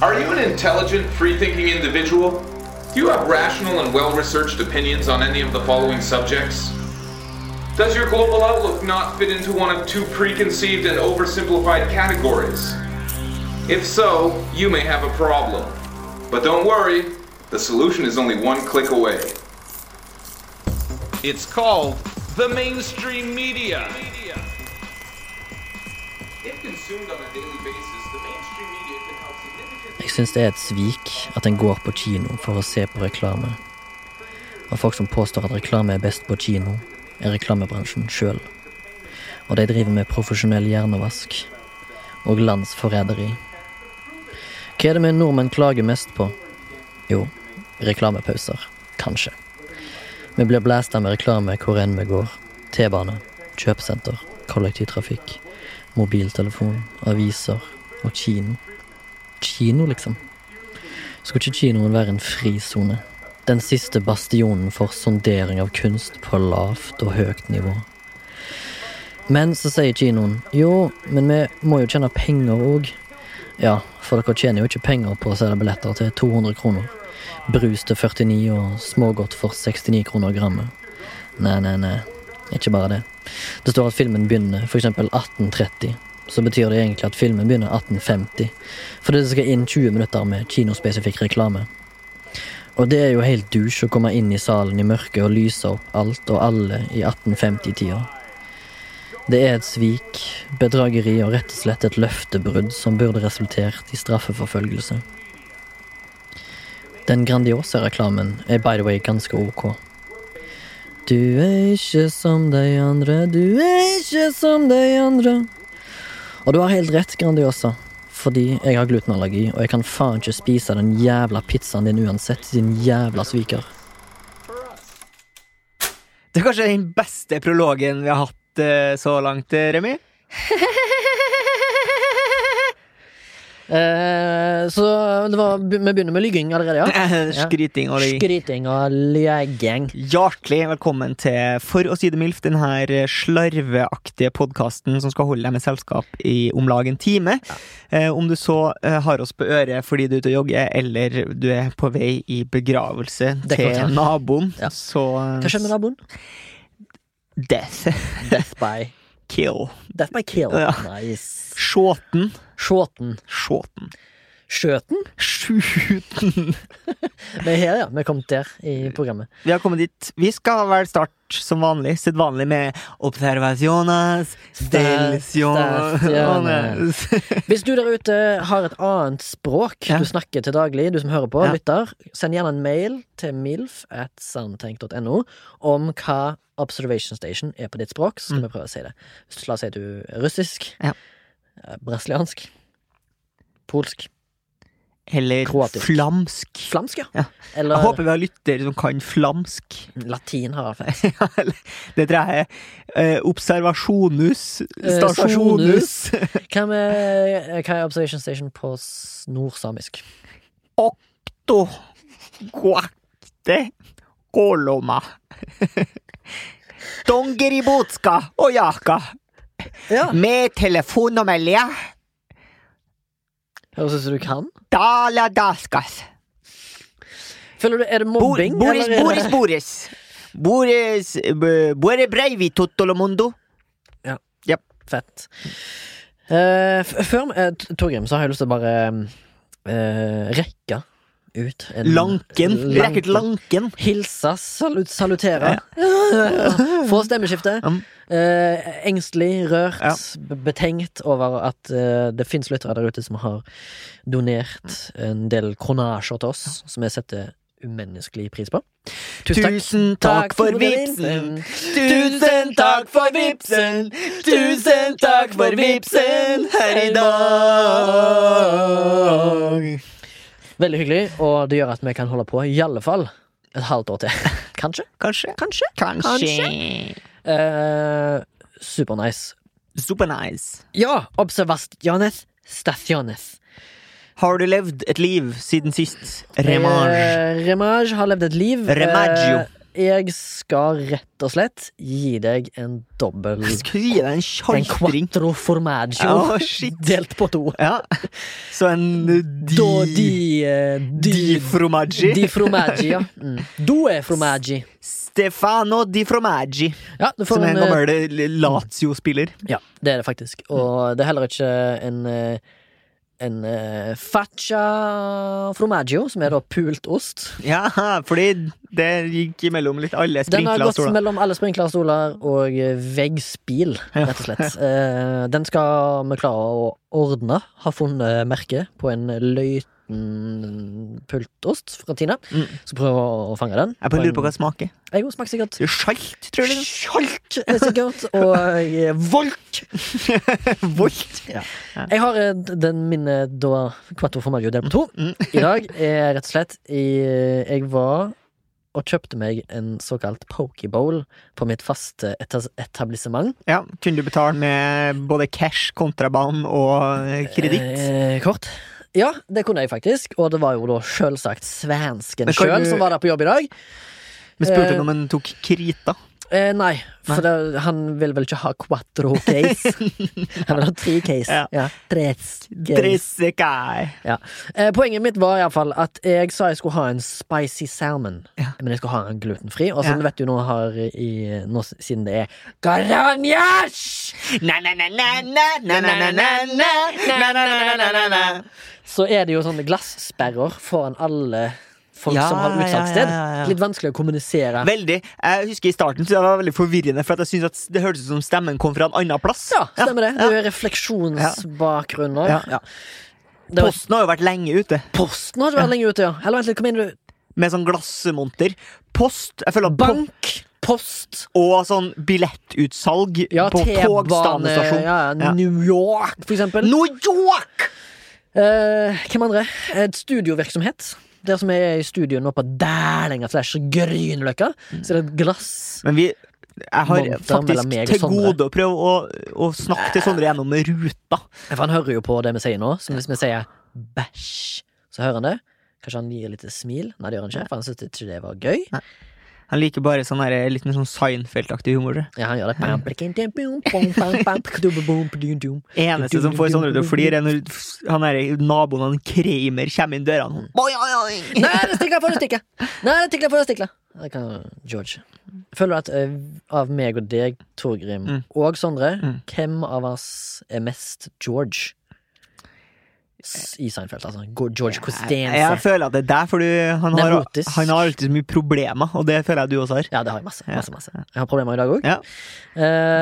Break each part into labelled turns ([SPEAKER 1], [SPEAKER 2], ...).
[SPEAKER 1] Are you an intelligent, free thinking individual? Do you have rational and well researched opinions on any of the following subjects? Does your global outlook not fit into one of two preconceived and oversimplified categories? If so, you may have a problem. But don't worry, the solution is only one click away. It's called the mainstream media. If consumed on a daily basis, the mainstream media can help significantly.
[SPEAKER 2] Jeg syns det er et svik at en går på kino for å se på reklame. Og folk som påstår at reklame er best på kino, er reklamebransjen sjøl. Og de driver med profesjonell hjernevask. Og landsforræderi. Hva er det vi nordmenn klager mest på? Jo, reklamepauser. Kanskje. Vi blir blæsta med reklame hvor enn vi går. T-bane, kjøpesenter, kollektivtrafikk, mobiltelefon, aviser og kino kino, liksom. Skulle ikke kinoen være en frisone? Den siste bastionen for sondering av kunst på lavt og høyt nivå. Men så sier kinoen jo, men vi må jo tjene penger òg. Ja, for dere tjener jo ikke penger på å selge billetter til 200 kroner. Brus til 49 og smågodt for 69 kroner grammet. Nei, nei, nei. Ikke bare det. Det står at filmen begynner f.eks. 1830. Så betyr det egentlig at filmen begynner 1850. Fordi det skal inn 20 minutter med kinospesifikk reklame. Og det er jo helt douche å komme inn i salen i mørket og lyse opp alt og alle i 1850-tida. Det er et svik, bedrageri og rett og slett et løftebrudd som burde resultert i straffeforfølgelse. Den Grandiosa-reklamen er by the way ganske ok. Du er ikke som de andre, du er ikke som de andre. Og du har helt rett, Grandiosa. Fordi jeg har glutenallergi, og jeg kan faen ikke spise den jævla pizzaen din uansett, din jævla sviker.
[SPEAKER 3] Det er kanskje den beste prologen vi har hatt eh, så langt, eh, Remi.
[SPEAKER 2] Eh, så det var, vi begynner med lygging allerede, ja?
[SPEAKER 3] Skryting og lying.
[SPEAKER 2] Skryting og lyging.
[SPEAKER 3] Hjertelig velkommen til For å si det mildt, denne slarveaktige podkasten som skal holde deg med selskap i om lag en time. Eh, om du så eh, har oss på øret fordi du er ute og jogger, eller du er på vei i begravelse
[SPEAKER 2] Det kan jeg.
[SPEAKER 3] til naboen,
[SPEAKER 2] Ja.
[SPEAKER 3] så eh,
[SPEAKER 2] Hva skjer med naboen?
[SPEAKER 3] Death.
[SPEAKER 2] Death by
[SPEAKER 3] Kill.
[SPEAKER 2] Death by kill.
[SPEAKER 3] Ja.
[SPEAKER 2] Nice.
[SPEAKER 3] Shorten.
[SPEAKER 2] Shorten.
[SPEAKER 3] Shorten.
[SPEAKER 2] Skjøten?
[SPEAKER 3] Shooten.
[SPEAKER 2] Vi er her, ja. Vi er kommet der i programmet.
[SPEAKER 3] Vi har kommet dit. Vi skal vel starte som vanlig, sedvanlig med observasjones, stasjones
[SPEAKER 2] Hvis du der ute har et annet språk
[SPEAKER 3] Ja.
[SPEAKER 2] du snakker til daglig, du som hører på,
[SPEAKER 3] Ja.
[SPEAKER 2] lytter, send gjerne en mail til milf at sandtenk.no om hva Observation Station er på ditt språk. Så skal vi prøve å si det. Hvis du- La oss si at du er russisk,
[SPEAKER 3] Mm. Ja.
[SPEAKER 2] eh, brasiliansk, polsk,
[SPEAKER 3] Eller
[SPEAKER 2] Kroatisk.
[SPEAKER 3] flamsk.
[SPEAKER 2] flamsk, ja.
[SPEAKER 3] Ja.
[SPEAKER 2] Eller
[SPEAKER 3] Jeg håper vi har lyttere som kan flamsk.
[SPEAKER 2] latin har jeg
[SPEAKER 3] Ja, eller- Det tror jeg er eh, observasjonus,
[SPEAKER 2] Eh,
[SPEAKER 3] stasjonus
[SPEAKER 2] Hva med eh, hva er Observation Station på s- nordsamisk?
[SPEAKER 3] to guakte koloma. Dongeribotska og jaka.
[SPEAKER 2] Ja.
[SPEAKER 3] Med telefonnummerlige
[SPEAKER 2] Høres ut som du kan.
[SPEAKER 3] daladaskas.
[SPEAKER 2] Føler du, Er det
[SPEAKER 3] Bor-
[SPEAKER 2] mobbing?
[SPEAKER 3] Boris,
[SPEAKER 2] eller er
[SPEAKER 3] Boris,
[SPEAKER 2] det-
[SPEAKER 3] Boris. Boris b- Buere breivi totolomondo.
[SPEAKER 2] Fett. Eh, f- før eh, T- Torgrim, så har jeg lyst til å bare eh, rekke ut en
[SPEAKER 3] Lanken. Rekk ut lanken.
[SPEAKER 2] Hilse, salut, salutere. Få stemmeskifte.
[SPEAKER 3] Mm.
[SPEAKER 2] Eh, engstelig, rørt,
[SPEAKER 3] Ja.
[SPEAKER 2] b- betenkt over at eh, det fins lyttere der ute som har donert en del kronasjer til oss, som jeg setter umenneskelig pris på.
[SPEAKER 3] Tusen takk for vipsen! Tusen takk for vipsen! Tusen takk for vipsen her i dag!
[SPEAKER 2] Veldig hyggelig, og det gjør at vi kan holde på i alle fall et halvt år til. Kanskje.
[SPEAKER 3] Kanskje.
[SPEAKER 2] Kanskje.
[SPEAKER 3] Kanskje.
[SPEAKER 2] Eh, Supernice.
[SPEAKER 3] Super nice.
[SPEAKER 2] Ja, observasjones stationes.
[SPEAKER 3] Har du levd et liv siden sist? Remage.
[SPEAKER 2] Eh, Remage har levd et liv.
[SPEAKER 3] Remaggio.
[SPEAKER 2] Eh, jeg skal rett og slett gi deg en dobbel
[SPEAKER 3] Jeg skulle gi deg en
[SPEAKER 2] En
[SPEAKER 3] sjaltring.
[SPEAKER 2] quattro formaggio
[SPEAKER 3] Å, shit.
[SPEAKER 2] delt på to.
[SPEAKER 3] Ja. Så en di...
[SPEAKER 2] Da di, eh,
[SPEAKER 3] Di
[SPEAKER 2] di
[SPEAKER 3] fromaggi.
[SPEAKER 2] Di fromaggi, ja. Mm. Due fromaggi.
[SPEAKER 3] Stefano di fromaggi.
[SPEAKER 2] Ja, du får
[SPEAKER 3] Som er
[SPEAKER 2] eh,
[SPEAKER 3] en gammel eh, Lazio-spiller.
[SPEAKER 2] Ja, det er det faktisk. Og det er heller ikke en eh, en eh, faccia fromaggio, som er da pult ost.
[SPEAKER 3] Ja, fordi det gikk imellom litt alle
[SPEAKER 2] Den har
[SPEAKER 3] sprinkla
[SPEAKER 2] gått
[SPEAKER 3] stoler.
[SPEAKER 2] mellom alle sprinklerstoler og eh, veggspil, rett og slett. Eh, Den skal vi klare å ordne. Har funnet merket på en løyten pultost fra Tina.
[SPEAKER 3] Mm.
[SPEAKER 2] Så prøv å fange den.
[SPEAKER 3] Jeg bare lurer på hva det smaker.
[SPEAKER 2] Jeg jo smaker sikkert
[SPEAKER 3] Det er Salt, tror jeg.
[SPEAKER 2] Skjolt er sikkert, og eh, volt.
[SPEAKER 3] Volt.
[SPEAKER 2] Jeg har eh, den minne da Quattro formaggio del på to.
[SPEAKER 3] Mm.
[SPEAKER 2] I dag er rett og slett i, eh, Jeg var og kjøpte meg en såkalt pokebowl på mitt faste etas- etablissement.
[SPEAKER 3] Ja, Kunne du betale med både cash, kontrabanen og eh, kreditt?
[SPEAKER 2] Eh, kort. Ja, det kunne jeg faktisk, og det var jo da selvsagt svensken
[SPEAKER 3] Men kan
[SPEAKER 2] sjøl
[SPEAKER 3] du-
[SPEAKER 2] som var der på jobb i dag.
[SPEAKER 3] Men spurte
[SPEAKER 2] eh,
[SPEAKER 3] du om han tok krita?
[SPEAKER 2] Eh, nei, for det, han vil vel ikke ha quattro case. han vil ha tre case.
[SPEAKER 3] Ja.
[SPEAKER 2] Ja. Tres case.
[SPEAKER 3] Dressekai.
[SPEAKER 2] Ja. Eh, poenget mitt var i hvert fall at jeg sa jeg skulle ha en spicy salmon.
[SPEAKER 3] Ja.
[SPEAKER 2] Men jeg skulle ha en glutenfri. Og som
[SPEAKER 3] Ja.
[SPEAKER 2] du vet jo nå har i, nå, s- siden det er Garanjas! Så er det jo sånne glassperrer foran alle folk
[SPEAKER 3] Ja,
[SPEAKER 2] som har
[SPEAKER 3] ja,
[SPEAKER 2] utsalgssted.
[SPEAKER 3] ja, ja, ja.
[SPEAKER 2] Litt vanskelig å kommunisere.
[SPEAKER 3] Veldig. Jeg husker I starten så det var veldig forvirrende, for at jeg synes at det hørtes ut som stemmen kom fra en annen plass.
[SPEAKER 2] ja, stemmer det.
[SPEAKER 3] Ja.
[SPEAKER 2] Det er refleksjonsbakgrunner.
[SPEAKER 3] Ja.
[SPEAKER 2] Ja. Det var,
[SPEAKER 3] Posten har jo vært lenge ute,
[SPEAKER 2] posten har ikke vært lenge ute, ja. Eller vent litt, kom inn, du.
[SPEAKER 3] med sånn glassmonter. Post jeg føler at po-
[SPEAKER 2] Bank, post,
[SPEAKER 3] Og sånn billettutsalg
[SPEAKER 2] ja,
[SPEAKER 3] på
[SPEAKER 2] T-bane,
[SPEAKER 3] togstanestasjon.
[SPEAKER 2] ja,
[SPEAKER 3] Ja.
[SPEAKER 2] New York, for eksempel.
[SPEAKER 3] New York!
[SPEAKER 2] Eh, hvem andre? Et studiovirksomhet. Der som jeg er i studio nå på Dælinga slash Grünerløkka, så er det et glass.
[SPEAKER 3] Men vi jeg har
[SPEAKER 2] Monter mellom
[SPEAKER 3] faktisk
[SPEAKER 2] meg og
[SPEAKER 3] til
[SPEAKER 2] Sondre.
[SPEAKER 3] gode å prøve å, å snakke til Sondre gjennom ruta.
[SPEAKER 2] For han hører jo på det vi sier nå, så hvis vi sier bæsj, så hører han det. Kanskje han gir litt smil? Nei, det gjør han ikke, for han syntes ikke det var gøy.
[SPEAKER 3] Han liker bare sånn der, litt mer sånn Seinfeld-aktig humor. tror jeg.
[SPEAKER 2] Ja, han gjør det.
[SPEAKER 3] Eneste som får sånn, Sondre til å flire, er når han der naboen han Kramer kommer inn dørene. Oi, oi, oi.
[SPEAKER 2] Nei, det stikler for å stikke! Nei, det stikler for å stikke! Det kan George. Føler du at eh, av meg og deg, Torgrim,
[SPEAKER 3] Mm.
[SPEAKER 2] og Sondre,
[SPEAKER 3] Mm.
[SPEAKER 2] hvem av oss er mest George? S- I Seinfeld, altså. Go- George
[SPEAKER 3] Jeg,
[SPEAKER 2] Costanza.
[SPEAKER 3] jeg føler at det er der, for han, har,
[SPEAKER 2] Nevrotisk.
[SPEAKER 3] han har alltid så mye problemer, og det føler jeg du også har.
[SPEAKER 2] Ja, det har jeg masse.
[SPEAKER 3] Ja.
[SPEAKER 2] masse, masse. Jeg har problemer i dag òg.
[SPEAKER 3] Ja.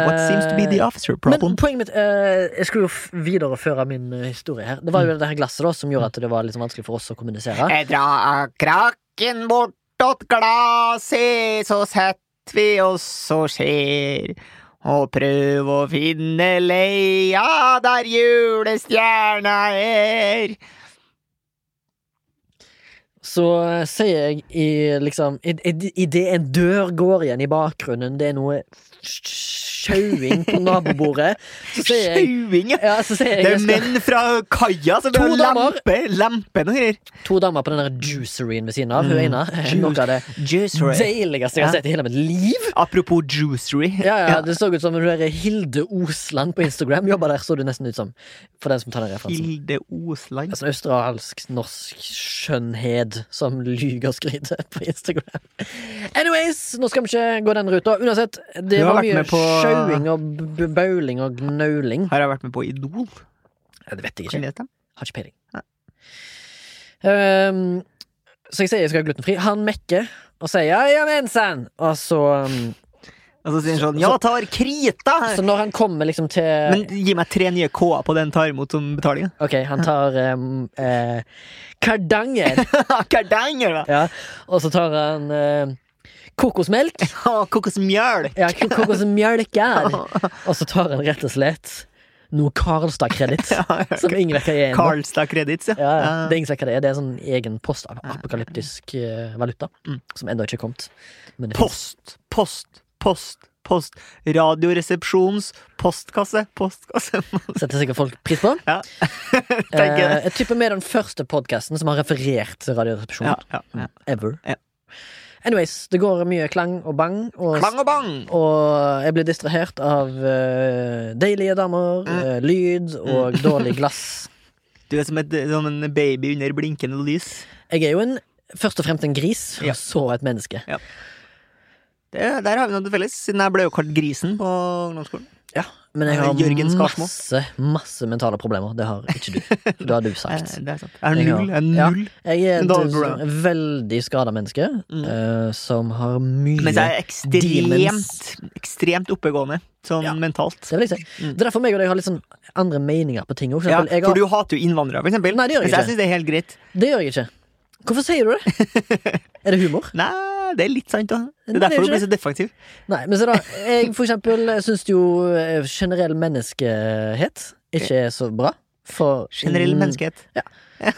[SPEAKER 3] What seems to be the officer problem?
[SPEAKER 2] Eh, Men poenget mitt eh, Jeg skulle jo f videreføre min eh, historie her. Det var
[SPEAKER 3] Mm.
[SPEAKER 2] jo det her glasset da som gjorde at det var litt sånn vanskelig for oss å kommunisere.
[SPEAKER 3] Jeg drar krakken bortåt glasset, så setter vi oss og ser. Og prøv å finne leia der julestjerna er.
[SPEAKER 2] Så eh, sier jeg i liksom i- i- Idet en dør går igjen i bakgrunnen, det er noe sjauing på nabobordet, så sier jeg
[SPEAKER 3] Sjauing, ja.
[SPEAKER 2] ja, så sier jeg,
[SPEAKER 3] Det
[SPEAKER 2] jeg
[SPEAKER 3] er
[SPEAKER 2] skal,
[SPEAKER 3] menn fra kaia som
[SPEAKER 2] To
[SPEAKER 3] vil
[SPEAKER 2] damer.
[SPEAKER 3] lempe, lempe noen greier.
[SPEAKER 2] To damer på den der juiceryen ved siden av. Hun ene er noe av det
[SPEAKER 3] Mm. Juicery.
[SPEAKER 2] deiligste jeg har
[SPEAKER 3] Ja.
[SPEAKER 2] sett i hele mitt liv.
[SPEAKER 3] Apropos juicery.
[SPEAKER 2] Ja, ja, Det så ut som hun der Hilde Osland på Instagram jobba der, så det nesten ut som. For den som tar den referansen.
[SPEAKER 3] Hilde Osland.
[SPEAKER 2] Altså Australsk-norsk skjønnhet som lyger og skryter på Instagram. Anyways, nå skal vi ikke gå den ruta. Uansett, det
[SPEAKER 3] Du har
[SPEAKER 2] var mye
[SPEAKER 3] vært med på-
[SPEAKER 2] sjauing og b- b- bauling og gnauling.
[SPEAKER 3] Har jeg vært med på Idol?
[SPEAKER 2] Ja, Det vet jeg
[SPEAKER 3] Kan
[SPEAKER 2] ikke.
[SPEAKER 3] jeg stemme?
[SPEAKER 2] Har ikke peiling. Ehm, så jeg sier jeg skal ha glutenfri. Han mekker og sier ja, ja, mensen! Og så um,
[SPEAKER 3] Og så sier han sånn Ja, tar krita!
[SPEAKER 2] Så når han kommer liksom til
[SPEAKER 3] Men gi meg tre nye K-er på den tar imot som betaling.
[SPEAKER 2] Ok, han tar um, eh, Kardanger.
[SPEAKER 3] da. Kardanger, da!
[SPEAKER 2] Ja. Og så tar han eh, kokosmelk.
[SPEAKER 3] Og kokosmjølk!
[SPEAKER 2] Ja, ko- kokosmelk er Og så tar han rett og slett noe Karlstad-kreditt. Som ingen vet hva er. ennå.
[SPEAKER 3] Karlstad Credits, ja. Eh,
[SPEAKER 2] Ja, ja. Det er ingen som vet hva det er. Det er sånn egen post-apokalyptisk eh, valuta.
[SPEAKER 3] Mm.
[SPEAKER 2] Som ennå ikke er kommet. Men det finnes.
[SPEAKER 3] Post, post, post, post. Radioresepsjons postkasse, postkasse
[SPEAKER 2] setter sikkert folk pris på.
[SPEAKER 3] Ja. Tenker
[SPEAKER 2] Eh,
[SPEAKER 3] jeg.
[SPEAKER 2] jeg tipper med den første podkasten som har referert til Radioresepsjonen.
[SPEAKER 3] Ja, ja, ja.
[SPEAKER 2] Ever.
[SPEAKER 3] Ja.
[SPEAKER 2] Anyways, det går mye klang og bang. Og,
[SPEAKER 3] Klang og bang!
[SPEAKER 2] og jeg blir distrahert av eh, deilige damer,
[SPEAKER 3] Mm.
[SPEAKER 2] eh, lyd og dårlig glass.
[SPEAKER 3] Du er som, et, som en baby under blinkende lys.
[SPEAKER 2] Jeg er jo en, først og fremst en gris,
[SPEAKER 3] Ja.
[SPEAKER 2] og så et menneske.
[SPEAKER 3] Det, der har vi noe til felles, siden jeg ble jo kalt Grisen på ungdomsskolen.
[SPEAKER 2] Men jeg
[SPEAKER 3] Eh, Jørgen
[SPEAKER 2] har
[SPEAKER 3] Skarsmo.
[SPEAKER 2] masse, masse mentale problemer. Det har ikke du. Det har du sagt.
[SPEAKER 3] Eh, Det er sant. Jeg har null. Jeg
[SPEAKER 2] Ja.
[SPEAKER 3] har null.
[SPEAKER 2] Jeg er et
[SPEAKER 3] Dårlig problem.
[SPEAKER 2] eh, veldig skada menneske eh, som har mye
[SPEAKER 3] Mens jeg Mm. er ekstremt,
[SPEAKER 2] Demons.
[SPEAKER 3] ekstremt oppegående, sånn
[SPEAKER 2] Ja.
[SPEAKER 3] mentalt.
[SPEAKER 2] Det vil jeg si. Det er derfor meg og deg har litt sånn andre meninger på ting. også. For
[SPEAKER 3] Mm. Ja,
[SPEAKER 2] eksempel, jeg
[SPEAKER 3] for
[SPEAKER 2] har,
[SPEAKER 3] du hater jo innvandrere, for eksempel.
[SPEAKER 2] Nei, det gjør jeg
[SPEAKER 3] Mens jeg
[SPEAKER 2] ikke.
[SPEAKER 3] syns det er helt greit.
[SPEAKER 2] Det gjør jeg ikke. Hvorfor sier du det? er det humor?
[SPEAKER 3] Nei, det er litt sant, da. Det
[SPEAKER 2] Nei,
[SPEAKER 3] er
[SPEAKER 2] det er
[SPEAKER 3] derfor
[SPEAKER 2] ikke
[SPEAKER 3] du blir så defektiv.
[SPEAKER 2] Nei, men se da. Jeg for eksempel syns jo eh, generell menneskehet ikke er så bra. For
[SPEAKER 3] Generell
[SPEAKER 2] Mm,
[SPEAKER 3] menneskehet.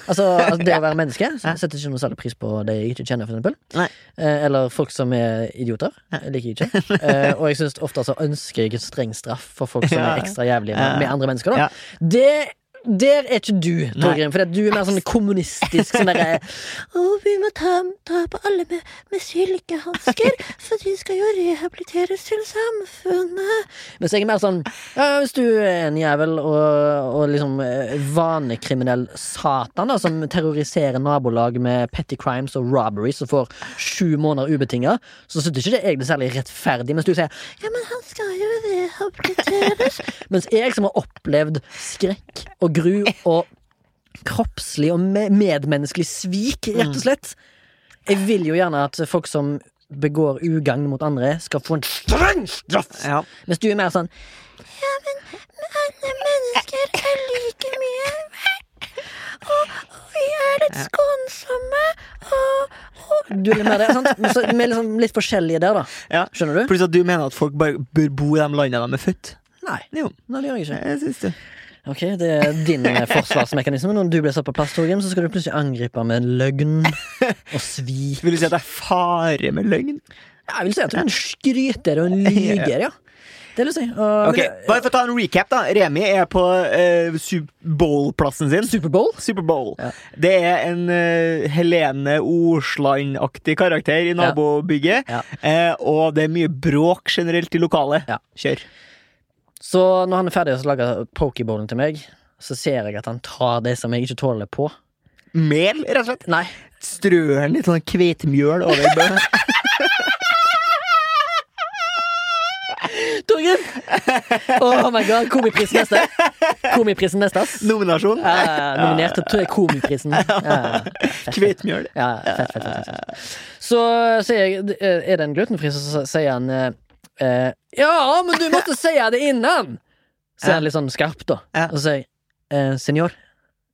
[SPEAKER 2] Altså, altså det å være menneske. så jeg Setter ikke noe særlig pris på de jeg ikke kjenner, for eksempel.
[SPEAKER 3] Nei.
[SPEAKER 2] Eh, Eller folk som er idioter. Jeg liker jeg ikke. Eh, Og jeg syns ofte så ønsker jeg en streng straff for folk som
[SPEAKER 3] Ja.
[SPEAKER 2] er ekstra jævlige
[SPEAKER 3] Ja.
[SPEAKER 2] med, med andre mennesker, da.
[SPEAKER 3] Ja.
[SPEAKER 2] Det der er ikke du,
[SPEAKER 3] Nei.
[SPEAKER 2] Torgrim, for du er mer sånn kommunistisk. Sånn derre Å, vi må ta, ta på alle med, med silkehansker, for de skal jo rehabiliteres til samfunnet. Mens jeg er mer sånn ja, Hvis du er en jævel og, og liksom eh, vanekriminell satan da, som terroriserer nabolag med petty crimes og robberies og får sju måneder ubetinga, så syns ikke det jeg det er særlig rettferdig. Mens du sier ja, men han skal jo rehabiliteres. mens jeg som har opplevd skrekk og gru og kroppslig og me- medmenneskelig svik, rett og slett. Jeg vil jo gjerne at folk som begår ugagn mot andre, skal få en streng straff!
[SPEAKER 3] Ja.
[SPEAKER 2] Mens du er mer sånn Ja, men alle mennesker er like mye Og, vi er litt skånsomme og, Du er litt mer det, sant? Men så, vi er liksom litt forskjellige der, da.
[SPEAKER 3] Ja.
[SPEAKER 2] Skjønner du?
[SPEAKER 3] Pluss at du mener at folk bare bør bo i de landene de er født.
[SPEAKER 2] Nei.
[SPEAKER 3] Jo,
[SPEAKER 2] Nei, det gjør jeg ikke.
[SPEAKER 3] jeg syns det.
[SPEAKER 2] Ok, Det er din eh, forsvarsmekanisme. Når du blir satt på plass, Torgrim, så skal du plutselig angripe med løgn og svik.
[SPEAKER 3] Vil du si at det er fare med løgn?
[SPEAKER 2] Jeg vil si at du er en skryter og en lyger, ja. Det vil jeg si. Og-
[SPEAKER 3] Ok, Bare for å ta en recap, da. Remi er på eh, Super Bowl-plassen sin.
[SPEAKER 2] Superbowl?
[SPEAKER 3] Super Bowl. Det er en eh, Helene Orsland-aktig karakter i nabobygget.
[SPEAKER 2] Ja.
[SPEAKER 3] Eh, og det er mye bråk generelt i lokalet.
[SPEAKER 2] Ja.
[SPEAKER 3] Kjør.
[SPEAKER 2] Så når han er ferdig å lage pokeballen til meg, så ser jeg at han tar det som jeg ikke tåler på.
[SPEAKER 3] Mel, rett og slett.
[SPEAKER 2] Nei,
[SPEAKER 3] Strør den litt sånn kveitemjøl over bønnen.
[SPEAKER 2] Torgrim! Oh my god, komiprisen neste. Komiprisen neste, ass.
[SPEAKER 3] Nominasjon.
[SPEAKER 2] Eh, nominert til tre- komiprisen. Eh,
[SPEAKER 3] Kveitmjøl.
[SPEAKER 2] ja, fett, fett, fett, fett, fett. Så sier jeg, eh, er det en glutenfri, så så sier han eh, eh, Ja, men du måtte si det innan! Sier han litt sånn skarpt, da.
[SPEAKER 3] Ja.
[SPEAKER 2] Og så sier jeg, eh, senor,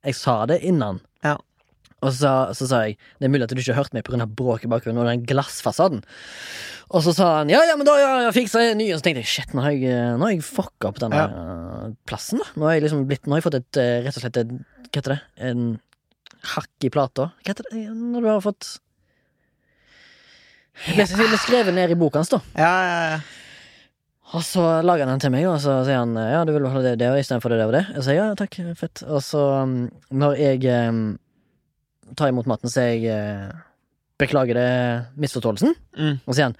[SPEAKER 2] jeg sa det innan.
[SPEAKER 3] Ja.
[SPEAKER 2] Og så, så sa jeg det er mulig at du ikke har hørt meg pga. bråket i bakgrunnen og den glassfasaden. Og så sa han ja, ja, men da ja, jeg fikser jeg en ny. Og så tenkte jeg shit, nå har jeg, eh, nå har jeg fucka opp denne eh, plassen. da Nå har jeg liksom blitt, nå har jeg fått et eh, rett og slett et, Hva heter det? En hakk i plata. Hva heter det når du har fått Det ble- det ble skrevet ned i boka hans, da.
[SPEAKER 3] Ja, ja, ja.
[SPEAKER 2] Og så lager han den til meg, og så sier han ja, du vil ha det der istedenfor det der og det. Jeg sier ja, takk, fett. Og så, um, når jeg um, tar imot maten, så jeg eh, beklager det misforståelsen.
[SPEAKER 3] Mm.
[SPEAKER 2] Og så sier han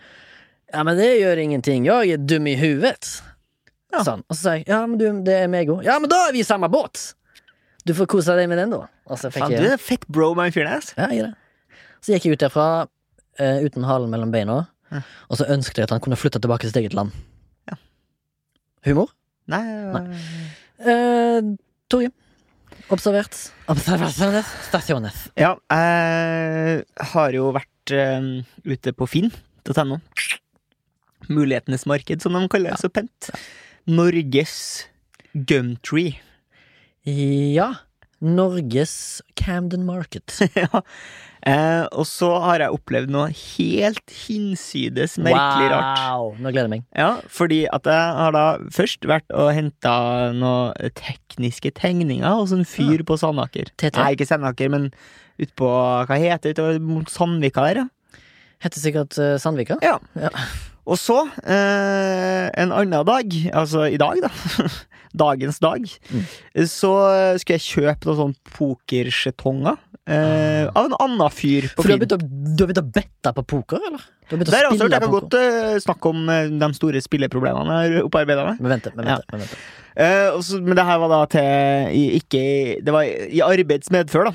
[SPEAKER 2] ja, men det gjør ingenting, jeg er dum i huvudet.
[SPEAKER 3] Ja.
[SPEAKER 2] Sånn. Og så sier jeg ja, men du, det er meg òg. Ja, men da er vi i samme båt! Du får kose deg med den, da. Og så fikk
[SPEAKER 3] Faen, du
[SPEAKER 2] jeg,
[SPEAKER 3] er en fett bro med den fyren der. ass.
[SPEAKER 2] ja, jeg er det. Så gikk jeg ut derfra eh, uten halen mellom beina,
[SPEAKER 3] Ja.
[SPEAKER 2] og så ønsket jeg at han kunne flytte tilbake til sitt eget land.
[SPEAKER 3] Ja.
[SPEAKER 2] Humor?
[SPEAKER 3] Nei,
[SPEAKER 2] Eh, Torgrim. Observert. Observasjones. Stasjones.
[SPEAKER 3] Ja, eh, jeg har jo vært eh, ute på Finn.no Mulighetenes marked, som de kaller det så pent. Norges Gumtree.
[SPEAKER 2] Ja. Norges Camden Market.
[SPEAKER 3] ja. Eh, og så har jeg opplevd noe helt hinsides merkelig rart.
[SPEAKER 2] Wow! Nå gleder jeg meg.
[SPEAKER 3] Ja, fordi at jeg har da først vært og henta noen tekniske tegninger hos en fyr på Sandaker.
[SPEAKER 2] TT.
[SPEAKER 3] Nei, ikke Sandaker, men utpå Hva heter det? utover mot Sandvika der, ja.
[SPEAKER 2] Heter sikkert eh, Sandvika.
[SPEAKER 3] Ja.
[SPEAKER 2] Ja.
[SPEAKER 3] Og så, eh, en annen dag, altså i dag, da. Dagens dag.
[SPEAKER 2] Mm.
[SPEAKER 3] Så skulle jeg kjøpe noen sånne pokersjetonger eh, av en annen fyr på
[SPEAKER 2] Ah. For du har
[SPEAKER 3] Finn.
[SPEAKER 2] begynt å, du har begynt å bette på poker, eller? Du har begynt å
[SPEAKER 3] Der har jeg også hørt,
[SPEAKER 2] spille
[SPEAKER 3] jeg kan
[SPEAKER 2] poker.
[SPEAKER 3] godt eh, snakke om eh, de store spilleproblemene jeg har opparbeida meg.
[SPEAKER 2] Men vent, men
[SPEAKER 3] Ja.
[SPEAKER 2] vent, men vent.
[SPEAKER 3] Eh, og så- men det her var da til i- Ikke i- Det var i i arbeids medfør, da.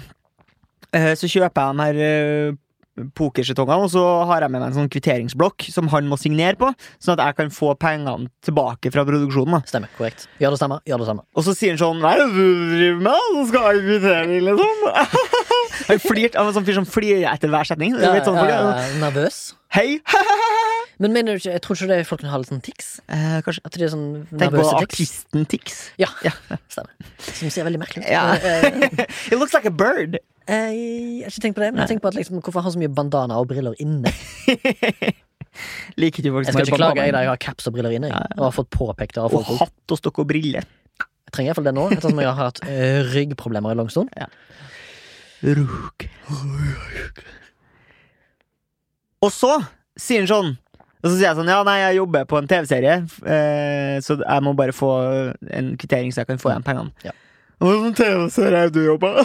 [SPEAKER 3] Eh, så kjøper jeg de her eh, pokersjetongene, og så har jeg med meg en sånn kvitteringsblokk som han må signere på, sånn at jeg kan få pengene tilbake fra produksjonen. da
[SPEAKER 2] Stemmer. Korrekt. Gjør det samme. Gjør det samme.
[SPEAKER 3] Og så sier han sånn Hva er det du driver med? Så skal jeg kvittere, liksom. Han flirte av en sånn fyr som flirer etter hver setning. Det er litt sånn, folk
[SPEAKER 2] ja,
[SPEAKER 3] er sånn,
[SPEAKER 2] ja, Eh, nervøs.
[SPEAKER 3] Hei!
[SPEAKER 2] Men mener du ikke, jeg tror ikke det er folk som har litt sånn tics?
[SPEAKER 3] Eh, kanskje
[SPEAKER 2] At de er sånn
[SPEAKER 3] Tenk på
[SPEAKER 2] nervøse tics?
[SPEAKER 3] artisten Tix.
[SPEAKER 2] Ja, stemmer. Som ser veldig merkelig ut.
[SPEAKER 3] Ja.
[SPEAKER 2] Eh,
[SPEAKER 3] It looks like a bird.
[SPEAKER 2] eh, jeg har ikke tenkt på det, men jeg har tenkt på at liksom, hvorfor har han så mye bandana og briller inne?
[SPEAKER 3] Liker du folk
[SPEAKER 2] Jeg
[SPEAKER 3] som
[SPEAKER 2] skal ikke
[SPEAKER 3] har
[SPEAKER 2] klage, jeg, da.
[SPEAKER 3] bandana?
[SPEAKER 2] Jeg har caps og briller inne. Jeg, og har fått påpekt det av
[SPEAKER 3] Og
[SPEAKER 2] folk.
[SPEAKER 3] hatt og stokk og briller.
[SPEAKER 2] Jeg trenger iallfall det nå, ettersom jeg har hatt eh, ryggproblemer i lang stund.
[SPEAKER 3] Ruk. Og så sier han sånn og så sier jeg sånn, ja nei, jeg jobber på en TV-serie, f- eh, så jeg må bare få en kvittering så jeg kan få igjen pengene.
[SPEAKER 2] Ja.
[SPEAKER 3] Hva slags TV-serie er det du jobber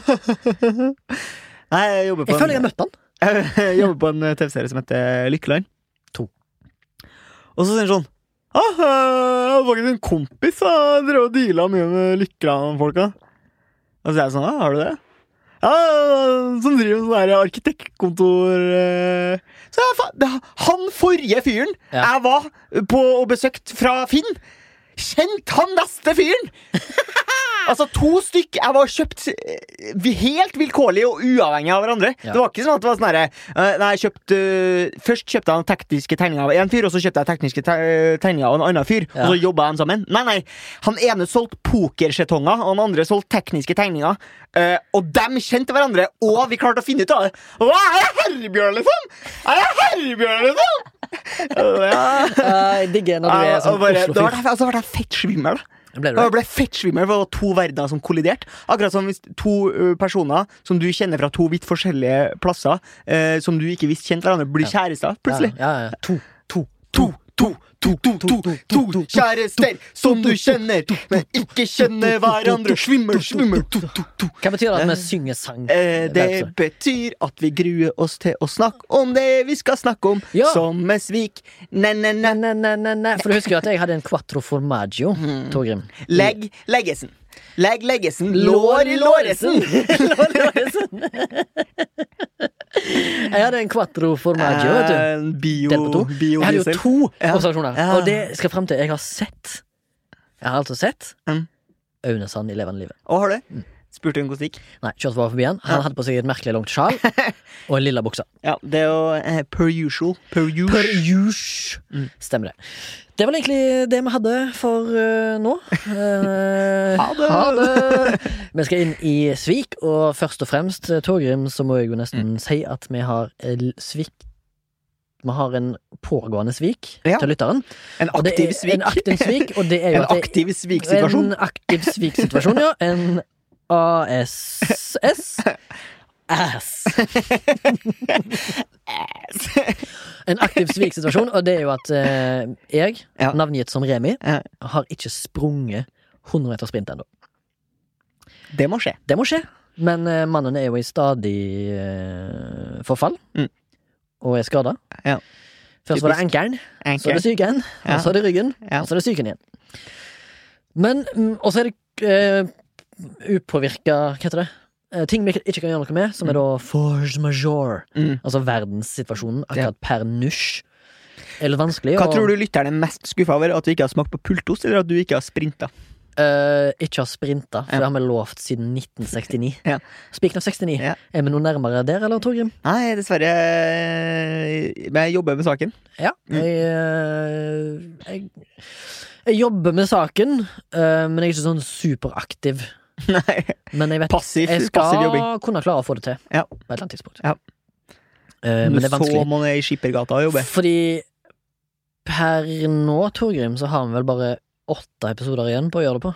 [SPEAKER 3] Nei, jeg jobber på
[SPEAKER 2] Jeg føler jeg
[SPEAKER 3] en,
[SPEAKER 2] har møtt han.
[SPEAKER 3] jeg jobber på en eh, TV-serie som heter Lykkeland.
[SPEAKER 2] To.
[SPEAKER 3] Og så sier han sånn, ah, eh, jeg har faktisk en kompis som drev og deala mye med Lykkeland-folka. Og så er jeg sånn, «Ah, har du det? Ja, som driver med sånn her arkitektkontor eh. Så jeg, fa- det- Han forrige fyren
[SPEAKER 2] Ja.
[SPEAKER 3] jeg var på og besøkte fra Finn, kjent han neste fyren! altså to stykk jeg var kjøpt eh, vi- helt vilkårlig og uavhengig av hverandre.
[SPEAKER 2] Ja.
[SPEAKER 3] Det var ikke sånn at det var sånn herre eh, Nei, jeg kjøpte eh, Først kjøpte jeg den tekniske tegninga av én fyr, og så kjøpte jeg tekniske te tegninga av en annen fyr,
[SPEAKER 2] Ja.
[SPEAKER 3] og så jobba de sammen. Nei, nei. Han ene solgte pokersjetonger, og han andre solgte tekniske tegninger. Eh, og de kjente hverandre, og vi klarte å finne ut av det. Hva er jeg herrebjørn, liksom? Er jeg herrebjørn, liksom? ja.
[SPEAKER 2] Jeg digger når du er
[SPEAKER 3] Ja, og
[SPEAKER 2] sånn
[SPEAKER 3] bare, da
[SPEAKER 2] Oslo-fyr.
[SPEAKER 3] var jeg- altså, ble jeg fett svimmel. da.
[SPEAKER 2] Ble du
[SPEAKER 3] Jeg
[SPEAKER 2] det?
[SPEAKER 3] ble fett svimmel, for det var to verdener som kolliderte. Akkurat som hvis to ø, personer som du kjenner fra to vidt forskjellige plasser, eh, som du ikke visste kjente hverandre, blir kjærester plutselig.
[SPEAKER 2] Ja, ja, ja. To. To.
[SPEAKER 3] To, to, to, to, to, to kjærester som du kjenner, men ikke kjenner hverandre. Svimmel, svimmel, to, to, to.
[SPEAKER 2] Hva betyr det at vi synger sang? hver
[SPEAKER 3] Eh,
[SPEAKER 2] episode?
[SPEAKER 3] det betyr at vi gruer oss til å snakke om det vi skal snakke om,
[SPEAKER 2] Ja.
[SPEAKER 3] som en svik.
[SPEAKER 2] Nei,
[SPEAKER 3] Ne-ne-ne.
[SPEAKER 2] nei, nei, nei, nei. For du husker jo at jeg hadde en quattro formaggio,
[SPEAKER 3] Mm.
[SPEAKER 2] Torgrim.
[SPEAKER 3] Legg leggesen. Legg leggesen. Lår i låresen.
[SPEAKER 2] Lår i låresen. jeg hadde en quattro formaggio, vet du.
[SPEAKER 3] Eh, bio-
[SPEAKER 2] Delt på to. Jeg hadde jo
[SPEAKER 3] Biodiesel.
[SPEAKER 2] to
[SPEAKER 3] Ja.
[SPEAKER 2] observasjoner.
[SPEAKER 3] Ja.
[SPEAKER 2] Og det skal frem til. Jeg har sett Jeg har altså sett
[SPEAKER 3] Mm.
[SPEAKER 2] Aune Sand i levende livet.
[SPEAKER 3] Å, har du?
[SPEAKER 2] Mm.
[SPEAKER 3] Spurte hun hvordan det gikk.
[SPEAKER 2] Nei, kjørte bare forbi han. Han hadde på seg et merkelig langt sjal og en lilla bukse.
[SPEAKER 3] Ja, det er jo eh, per usual. Per usual.
[SPEAKER 2] Per jus. Mm, Stemmer det. Det var vel egentlig det vi hadde for eh, nå. Eh,
[SPEAKER 3] Ha det.
[SPEAKER 2] det. Vi skal inn i svik, og først og fremst, eh, Torgrim, så må jeg jo
[SPEAKER 3] Mm.
[SPEAKER 2] nesten si at vi har eh, l- svik Vi har en pågående svik
[SPEAKER 3] Ja.
[SPEAKER 2] til lytteren.
[SPEAKER 3] En
[SPEAKER 2] Og det
[SPEAKER 3] aktiv
[SPEAKER 2] er
[SPEAKER 3] svik.
[SPEAKER 2] En aktiv svik, og det er jo
[SPEAKER 3] En
[SPEAKER 2] at det-
[SPEAKER 3] aktiv sviksituasjon.
[SPEAKER 2] En aktiv sviksituasjon, ja. En ASS. Ass. En aktiv sviksituasjon, og det er jo at eh, jeg,
[SPEAKER 3] Ja.
[SPEAKER 2] navngitt som Remi,
[SPEAKER 3] Ja.
[SPEAKER 2] har ikke sprunget 100 meter sprint ennå.
[SPEAKER 3] Det må skje.
[SPEAKER 2] Det må skje, men eh, mannen er jo i stadig eh, forfall.
[SPEAKER 3] Mm.
[SPEAKER 2] Og er skada.
[SPEAKER 3] Ja.
[SPEAKER 2] Først var det ankelen, så er det altså- psyken,
[SPEAKER 3] Ja.
[SPEAKER 2] og så er det ryggen,
[SPEAKER 3] Ja.
[SPEAKER 2] og så er det psyken igjen. Men mm, Og så er det eh, upåvirka Hva heter det? Eh, ting vi ikke kan gjøre noe med, som er da force majeure.
[SPEAKER 3] Mm.
[SPEAKER 2] Altså verdenssituasjonen
[SPEAKER 3] Ja.
[SPEAKER 2] akkurat per nusj. Er litt vanskelig
[SPEAKER 3] Hva
[SPEAKER 2] å-
[SPEAKER 3] tror du lytteren er mest skuffa over? At du ikke har smakt på pultost, eller at du ikke har sprinta?
[SPEAKER 2] eh, ikke har sprinta, for
[SPEAKER 3] Ja.
[SPEAKER 2] det har vi lovt siden 1969.
[SPEAKER 3] Ja.
[SPEAKER 2] Speaking of 69,
[SPEAKER 3] Ja.
[SPEAKER 2] er vi noe nærmere der, eller, Torgrim?
[SPEAKER 3] Nei, dessverre. eh, Men jeg jobber med saken.
[SPEAKER 2] Ja. Jeg, eh, jeg, jeg jobber med saken, eh, men jeg er ikke sånn superaktiv.
[SPEAKER 3] Nei,
[SPEAKER 2] Men jeg vet
[SPEAKER 3] passiv,
[SPEAKER 2] jeg
[SPEAKER 3] passiv
[SPEAKER 2] skal
[SPEAKER 3] jobbing.
[SPEAKER 2] kunne klare å få det til
[SPEAKER 3] Ja.
[SPEAKER 2] på et eller annet tidspunkt.
[SPEAKER 3] Ja.
[SPEAKER 2] Eh, men det er vanskelig.
[SPEAKER 3] Så må man i Skippergata og jobbe.
[SPEAKER 2] Fordi per nå, Torgrim, så har vi vel bare åtte episoder igjen på å gjøre det på.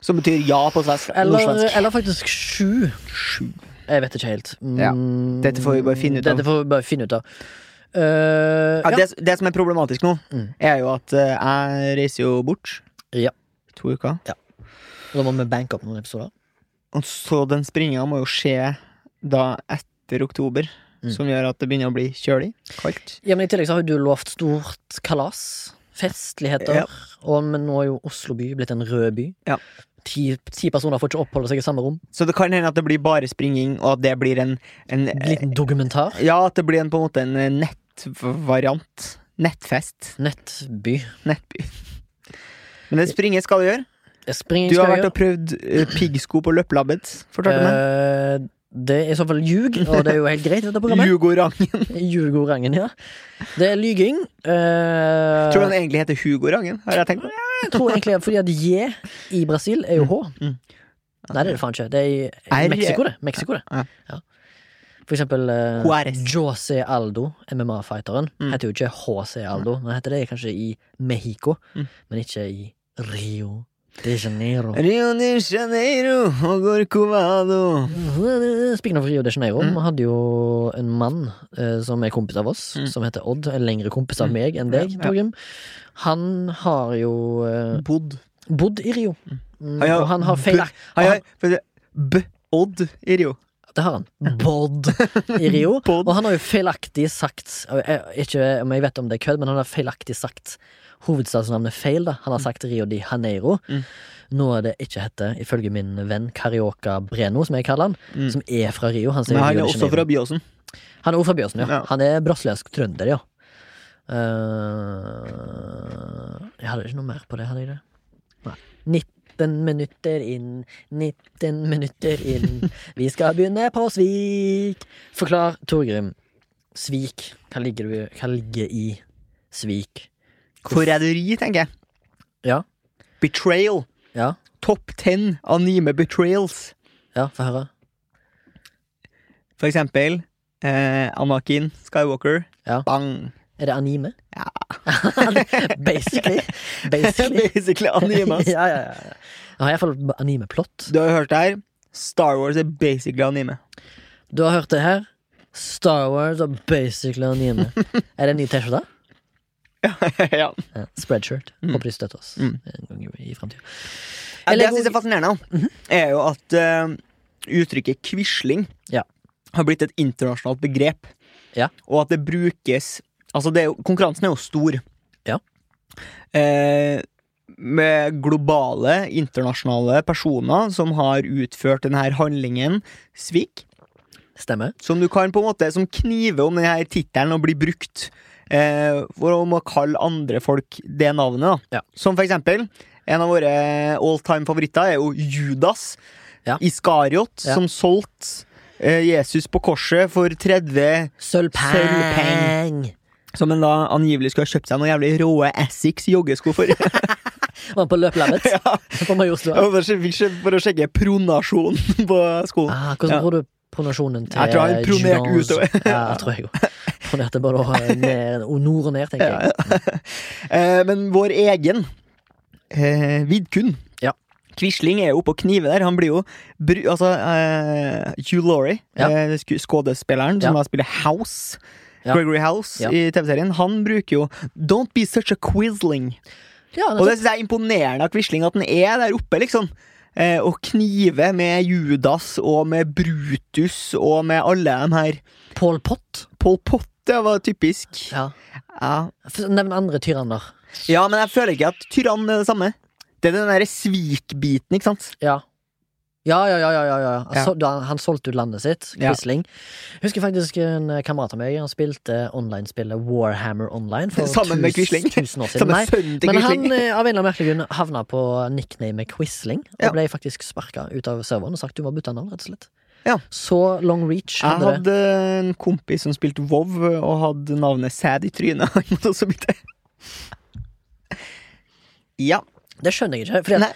[SPEAKER 3] Som betyr ja på svensk.
[SPEAKER 2] Eller,
[SPEAKER 3] nordsvensk.
[SPEAKER 2] eller faktisk sju.
[SPEAKER 3] Sju.
[SPEAKER 2] Jeg vet ikke helt. Mm,
[SPEAKER 3] Ja. Dette får vi bare finne ut av.
[SPEAKER 2] Dette får vi bare finne ut av. Eh,
[SPEAKER 3] Ja,
[SPEAKER 2] ja,
[SPEAKER 3] det, det som er problematisk nå,
[SPEAKER 2] Mm.
[SPEAKER 3] er jo at eh, jeg reiser jo bort.
[SPEAKER 2] Ja.
[SPEAKER 3] To uker.
[SPEAKER 2] Da må vi banke opp noen episoder.
[SPEAKER 3] Og så den springa må jo skje da etter oktober.
[SPEAKER 2] Mm.
[SPEAKER 3] Som gjør at det begynner å bli kjølig. Kaldt.
[SPEAKER 2] Ja, men I tillegg så har jo du lovt stort kalas. Festligheter.
[SPEAKER 3] Ja.
[SPEAKER 2] Og, men nå er jo Oslo by blitt en rød by.
[SPEAKER 3] Ja.
[SPEAKER 2] Ti, ti personer får ikke oppholde seg i samme rom.
[SPEAKER 3] Så det kan hende at det blir bare springing, og at det blir en, en
[SPEAKER 2] En liten dokumentar.
[SPEAKER 3] Ja, at det blir en, på en måte en eh, nettvariant. Nettfest.
[SPEAKER 2] Nettby.
[SPEAKER 3] Nettby. Men det springet skal du gjøre.
[SPEAKER 2] Spring
[SPEAKER 3] Du har
[SPEAKER 2] skal jeg
[SPEAKER 3] vært og prøvd eh, piggsko på løpelabbet, fortalte du meg.
[SPEAKER 2] Eh, Det er i så fall ljug, og det er jo helt greit i dette programmet.
[SPEAKER 3] Hugorangen.
[SPEAKER 2] Ljugorangen, ja. Det er lyging. Eh,
[SPEAKER 3] Tror du han egentlig heter Hugorangen? Har jeg tenkt på det?
[SPEAKER 2] jeg tror egentlig fordi at J i Brasil er jo H.
[SPEAKER 3] Mm.
[SPEAKER 2] Nei, det er det faen ikke. Det er i
[SPEAKER 3] R-
[SPEAKER 2] i Mexico, det. Mexico, det.
[SPEAKER 3] Ja.
[SPEAKER 2] Ja. For eksempel eh,
[SPEAKER 3] Juarez.
[SPEAKER 2] José Aldo, MMA-fighteren,
[SPEAKER 3] Mm.
[SPEAKER 2] heter jo ikke HC Aldo. Han heter det kanskje i Mexico,
[SPEAKER 3] Mm.
[SPEAKER 2] men ikke i Rio de Janeiro.
[SPEAKER 3] Rio de Janeiro og Gorcovado.
[SPEAKER 2] Speaking of Rio de Janeiro,
[SPEAKER 3] Mm.
[SPEAKER 2] vi hadde jo en mann eh, som er kompis av oss,
[SPEAKER 3] Mm.
[SPEAKER 2] som heter Odd. En lengre kompis av
[SPEAKER 3] Mm.
[SPEAKER 2] meg enn deg,
[SPEAKER 3] Ja, ja.
[SPEAKER 2] Torgrim. Han har jo eh,
[SPEAKER 3] Bodd.
[SPEAKER 2] bodd i Rio. Mm,
[SPEAKER 3] Han har-
[SPEAKER 2] og han har feil
[SPEAKER 3] Har jeg for det- B. Odd i Rio.
[SPEAKER 2] Det har han. Bodd i Rio.
[SPEAKER 3] Bodd.
[SPEAKER 2] Og han har jo feilaktig sagt jeg- jeg- Ikke om jeg vet om det er kødd, men han har feilaktig sagt hovedstadsnavnet feil. da Han har sagt Rio de Janeiro.
[SPEAKER 3] Mm.
[SPEAKER 2] Noe det ikke heter, ifølge min venn Carioca Breno, som jeg kaller han,
[SPEAKER 3] Mm.
[SPEAKER 2] som er fra Rio. Han sier
[SPEAKER 3] Men han
[SPEAKER 2] Rio
[SPEAKER 3] er
[SPEAKER 2] de
[SPEAKER 3] også
[SPEAKER 2] Janeiro.
[SPEAKER 3] fra Byåsen.
[SPEAKER 2] Han er Ofa Bjørsen, ja.
[SPEAKER 3] Ja.
[SPEAKER 2] Han er brasiliansk trønder, ja. Eh, jeg hadde ikke noe mer på det, hadde jeg det? Nei. 19 minutter inn, 19 minutter inn, vi skal begynne på svik. Forklar, Torgrim. Svik. Hva ligger, du, hva ligger i svik?
[SPEAKER 3] Forræderi, tenker jeg.
[SPEAKER 2] Ja.
[SPEAKER 3] Betrayal.
[SPEAKER 2] Ja,
[SPEAKER 3] Topp 10 anime betrayals.
[SPEAKER 2] ja, få høre.
[SPEAKER 3] For eksempel eh, Anakin Skywalker.
[SPEAKER 2] Ja.
[SPEAKER 3] Bang!
[SPEAKER 2] Er det anime?
[SPEAKER 3] Ja.
[SPEAKER 2] Basically. Basically.
[SPEAKER 3] Basically anime. ass.
[SPEAKER 2] ja, ja, ja. Jeg har iallfall anime-plott.
[SPEAKER 3] Du har hørt det her. Star Wars er basically anime.
[SPEAKER 2] Du har hørt det her. Star Wars og basically anime. er det en ny T-skjorte?
[SPEAKER 3] ja.
[SPEAKER 2] Ja. Spreadshirt. Håper de støtter oss
[SPEAKER 3] Mm.
[SPEAKER 2] en gang i fremtiden.
[SPEAKER 3] Ja,
[SPEAKER 2] Eller Mhm.
[SPEAKER 3] det jeg syns er fascinerende, er jo at eh, uttrykket quisling
[SPEAKER 2] Ja.
[SPEAKER 3] har blitt et internasjonalt begrep.
[SPEAKER 2] Ja.
[SPEAKER 3] Og at det brukes Altså, det er jo, konkurransen er jo stor.
[SPEAKER 2] Ja.
[SPEAKER 3] Eh, med globale, internasjonale personer som har utført denne handlingen svik.
[SPEAKER 2] Stemmer.
[SPEAKER 3] Som du kan på en måte Som kniver om denne tittelen og blir brukt eh, for om å kalle andre folk det navnet.
[SPEAKER 2] Ja.
[SPEAKER 3] Da. Som for eksempel en av våre all time favoritter er jo Judas
[SPEAKER 2] Ja.
[SPEAKER 3] Iskariot,
[SPEAKER 2] Ja.
[SPEAKER 3] som solgte eh, Jesus på korset for 30
[SPEAKER 2] Sølvpeng!
[SPEAKER 3] Sølvpeng. Som han da angivelig skulle ha kjøpt seg noen jævlig råe Essex joggesko for. ja.
[SPEAKER 2] Var han på løplabbet på Majorstua?
[SPEAKER 3] og for å sjekke- For å sjekke pronasjonen på skoen.
[SPEAKER 2] Ah, hvordan
[SPEAKER 3] Ja.
[SPEAKER 2] tror du pronasjonen til
[SPEAKER 3] Jeg tror han pronerte
[SPEAKER 2] Jones-
[SPEAKER 3] utover.
[SPEAKER 2] ja, jeg tror jeg òg. Pronerte både eh, ned, og nord og ned, tenker jeg.
[SPEAKER 3] Eh, men vår egen eh, Vidkun
[SPEAKER 2] Ja.
[SPEAKER 3] Quisling er jo oppe og knive der. Han blir jo bru, altså, eh, Hugh Laurie,
[SPEAKER 2] Ja.
[SPEAKER 3] eh, sku- skuespilleren som
[SPEAKER 2] Ja.
[SPEAKER 3] da spiller House,
[SPEAKER 2] Ja.
[SPEAKER 3] Gregory House
[SPEAKER 2] Ja.
[SPEAKER 3] i TV-serien, han bruker jo 'Don't be such a quisling'.
[SPEAKER 2] Ja,
[SPEAKER 3] Og det synes jeg er imponerende av Quisling at han er der oppe, liksom. Eh, og knive med Judas og med Brutus og med alle de her
[SPEAKER 2] Pål Pott.
[SPEAKER 3] Pol Pot, det var typisk.
[SPEAKER 2] Ja.
[SPEAKER 3] Ja.
[SPEAKER 2] F- Nevn andre tyranner.
[SPEAKER 3] Ja, men jeg føler ikke at tyrann er det samme. Det er den derre svikbiten, ikke sant?
[SPEAKER 2] Ja. Ja, ja, ja. ja, ja, ja.
[SPEAKER 3] Ja.
[SPEAKER 2] Altså, da- Han solgte ut landet sitt,
[SPEAKER 3] Ja.
[SPEAKER 2] Quisling. Jeg Husker faktisk en eh, kamerat av meg. Han spilte online-spillet Warhammer Online for
[SPEAKER 3] Sammen med
[SPEAKER 2] tusen,
[SPEAKER 3] Quisling.
[SPEAKER 2] tusen år siden.
[SPEAKER 3] Som er
[SPEAKER 2] Nei,
[SPEAKER 3] sønnen til
[SPEAKER 2] men
[SPEAKER 3] Quisling.
[SPEAKER 2] han eh, av en eller annen merkelig grunn havna på nicknamet Quisling, og
[SPEAKER 3] Ja.
[SPEAKER 2] ble faktisk sparka ut av serveren og sagt du må bytte navn, rett og slett.
[SPEAKER 3] Ja.
[SPEAKER 2] Så long reach
[SPEAKER 3] Jeg
[SPEAKER 2] hadde det.
[SPEAKER 3] hadde en kompis som spilte WoW og hadde navnet Sæd i trynet. Han måtte også bytte. Ja.
[SPEAKER 2] Det skjønner jeg ikke. Fordi
[SPEAKER 3] Nei.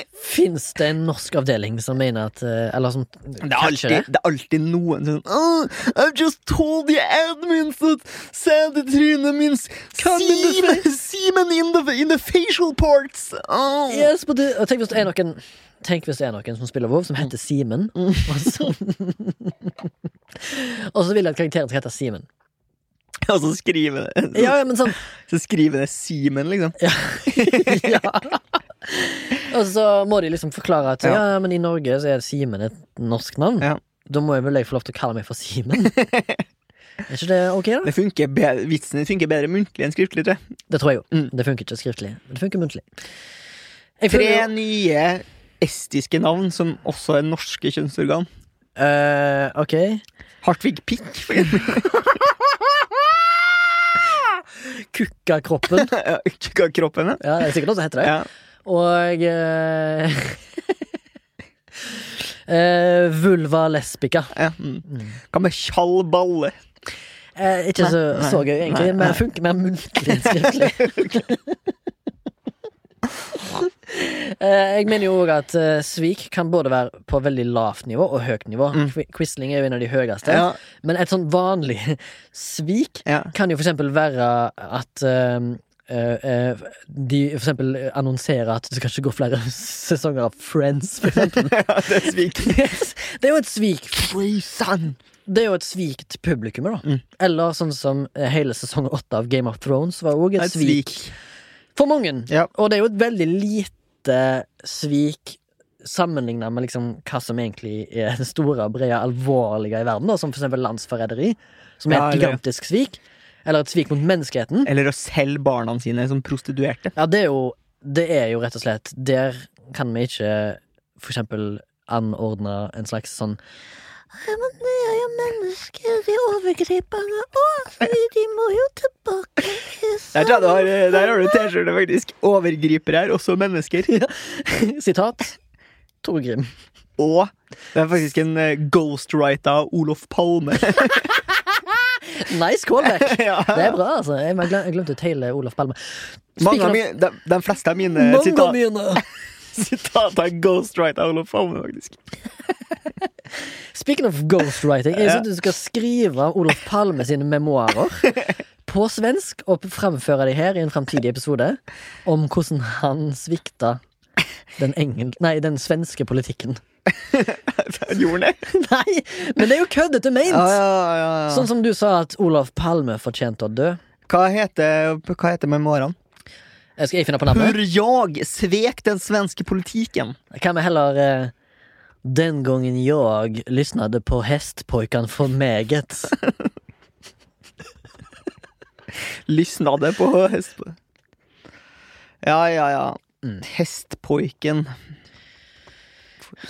[SPEAKER 2] at Fins det en norsk avdeling som mener at eh, Eller som
[SPEAKER 3] Det er, alltid,
[SPEAKER 2] catcher det?
[SPEAKER 3] det er alltid noen som oh, I've just told the admins that Sæd i trynet means
[SPEAKER 2] Come in the
[SPEAKER 3] semen, semen in, the, in the facial parts. Oh.
[SPEAKER 2] Yes, but det, og tenk, hvis det er noen, tenk hvis det er noen som spiller WoW, som heter Simen.
[SPEAKER 3] Mm.
[SPEAKER 2] Og så, og så vil jeg at karakteren skal hete Simen.
[SPEAKER 3] Og så skriver det
[SPEAKER 2] Ja, ja, men sånn
[SPEAKER 3] Så skriver det semen, liksom.
[SPEAKER 2] ja. Og så må de liksom forklare at
[SPEAKER 3] Ja.
[SPEAKER 2] ja, men i Norge så er Simen et norsk navn.
[SPEAKER 3] Ja.
[SPEAKER 2] Da må jeg vel jeg få lov til å kalle meg for Simen? er ikke det ok, da?
[SPEAKER 3] Det funker be- Vitsen din funker bedre muntlig enn skriftlig, tror jeg.
[SPEAKER 2] Det tror jeg jo.
[SPEAKER 3] Mm.
[SPEAKER 2] Det funker ikke skriftlig. men Det funker muntlig. Jeg
[SPEAKER 3] Tre
[SPEAKER 2] føler jo-
[SPEAKER 3] nye estiske navn som også er norske kjønnsorgan.
[SPEAKER 2] Eh, ok.
[SPEAKER 3] Hartvig Pikk. for eksempel.
[SPEAKER 2] Kukka kroppen.
[SPEAKER 3] Ja, Ikke av kroppen, ja.
[SPEAKER 2] Ja, det er sikkert noe som heter det.
[SPEAKER 3] ja.
[SPEAKER 2] Og eh, eh, Vulva lesbica.
[SPEAKER 3] ja. Mm. Hva med Tjall Balle?
[SPEAKER 2] Eh, ikke så,
[SPEAKER 3] Nei,
[SPEAKER 2] så gøy, egentlig.
[SPEAKER 3] nei, nei.
[SPEAKER 2] Men det funker mer muntlig enn skriftlig. Eh, Jeg mener jo òg at eh, svik kan både være på veldig lavt nivå og høyt nivå. Qui- Quisling er jo en av de høyeste.
[SPEAKER 3] Mm. Ja.
[SPEAKER 2] Men et sånn vanlig svik
[SPEAKER 3] Ja.
[SPEAKER 2] kan jo for eksempel være at eh, eh, eh, de for eksempel annonserer at det skal ikke gå flere sesonger av Friends, for eksempel.
[SPEAKER 3] ja, det er svik.
[SPEAKER 2] Det er jo et svik.
[SPEAKER 3] Frozen.
[SPEAKER 2] Det er jo et svik til publikummet, da.
[SPEAKER 3] Mm.
[SPEAKER 2] Eller sånn som eh, hele sesong åtte av Game of Thrones var òg et,
[SPEAKER 3] Et
[SPEAKER 2] svik.
[SPEAKER 3] svik.
[SPEAKER 2] For mange.
[SPEAKER 3] Ja.
[SPEAKER 2] Og det er jo et veldig lite svik sammenligna med liksom hva som egentlig er det store, brede, alvorlige i verden, da, som for eksempel landsforræderi, som er et
[SPEAKER 3] Ja, eller-
[SPEAKER 2] gigantisk svik. Eller et svik mot menneskeheten.
[SPEAKER 3] Eller å selge barna sine som prostituerte.
[SPEAKER 2] Ja, det er jo, det er jo rett og slett Der kan vi ikke for eksempel anordne en slags sånn «Nei, men det er jo mennesker, de overgriperne òg, de må jo tilbake i
[SPEAKER 3] Jeg tror jeg du har, eh, der har du T-skjorte, faktisk. Overgripere er også mennesker. eh,
[SPEAKER 2] sam- Sitat Tore Grim.
[SPEAKER 3] Og det er faktisk en eh, ghostwriter av Olof Palme.
[SPEAKER 2] Nice callback!
[SPEAKER 3] ja.
[SPEAKER 2] Det er bra, altså. Jeg glem- jeg glemte ut hele Olaf Palme.
[SPEAKER 3] Mange
[SPEAKER 2] Speaker
[SPEAKER 3] av
[SPEAKER 2] of-
[SPEAKER 3] mine, eh, de, de fleste av mine
[SPEAKER 2] Mange
[SPEAKER 3] sita-
[SPEAKER 2] mine.
[SPEAKER 3] sitater er ghostwriter av Olof Palme, faktisk.
[SPEAKER 2] Speaking of ghostwriting, jeg synes du skal skrive Olof Palme sine memoarer på svensk og framføre de her i en framtidig episode om hvordan han svikta den, engel, nei, den svenske politikken.
[SPEAKER 3] Gjorde han det?
[SPEAKER 2] Nei, men det er jo køddete ment!
[SPEAKER 3] Ja, ja, ja, ja.
[SPEAKER 2] Sånn som du sa at Olof Palme fortjente å dø.
[SPEAKER 3] Hva heter, hva heter memoarene?
[SPEAKER 2] Eh, Skal jeg finne på navnet?
[SPEAKER 3] Hur jag svek den svenske politikken.
[SPEAKER 2] Kan vi heller eh, Den gangen jag lyssnade på hästpojkan för meget.
[SPEAKER 3] Lyssnade på hest... Ja, ja, ja. Hestpoiken.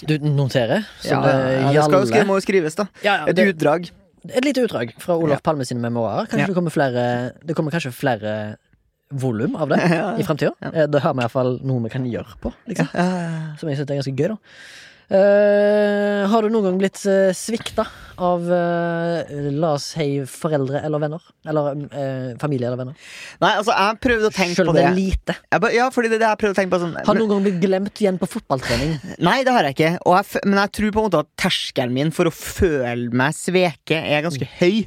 [SPEAKER 2] Du noterer? Så
[SPEAKER 3] Ja, ja, ja, det skal jo skri-
[SPEAKER 2] Jalle.
[SPEAKER 3] må jo skrives, da.
[SPEAKER 2] Ja, ja,
[SPEAKER 3] Et
[SPEAKER 2] det-
[SPEAKER 3] utdrag.
[SPEAKER 2] Et lite utdrag fra Olof
[SPEAKER 3] Ja.
[SPEAKER 2] Palme sine memoarer. Kanskje
[SPEAKER 3] Ja.
[SPEAKER 2] det kommer flere Det kommer kanskje flere volum av det
[SPEAKER 3] Ja, ja.
[SPEAKER 2] i framtida. Det har vi iallfall noe vi kan gjøre på, liksom.
[SPEAKER 3] Ja,
[SPEAKER 2] som jeg syns er ganske gøy. da Eh, Har du noen gang blitt uh, svikta av eh, la oss si foreldre eller venner? Eller eh, familie eller venner?
[SPEAKER 3] Nei, altså, jeg prøvde å tenke
[SPEAKER 2] Selv
[SPEAKER 3] på
[SPEAKER 2] om det
[SPEAKER 3] det.
[SPEAKER 2] er lite.
[SPEAKER 3] Jeg ba, ja, fordi det er det jeg prøvde å tenke på sånn
[SPEAKER 2] Har du noen gang blitt glemt igjen på fotballtrening?
[SPEAKER 3] Nei, det har jeg ikke. Og jeg, f- men jeg tror på en måte at terskelen min for å føle meg sveket er
[SPEAKER 2] Mm.
[SPEAKER 3] ganske høy.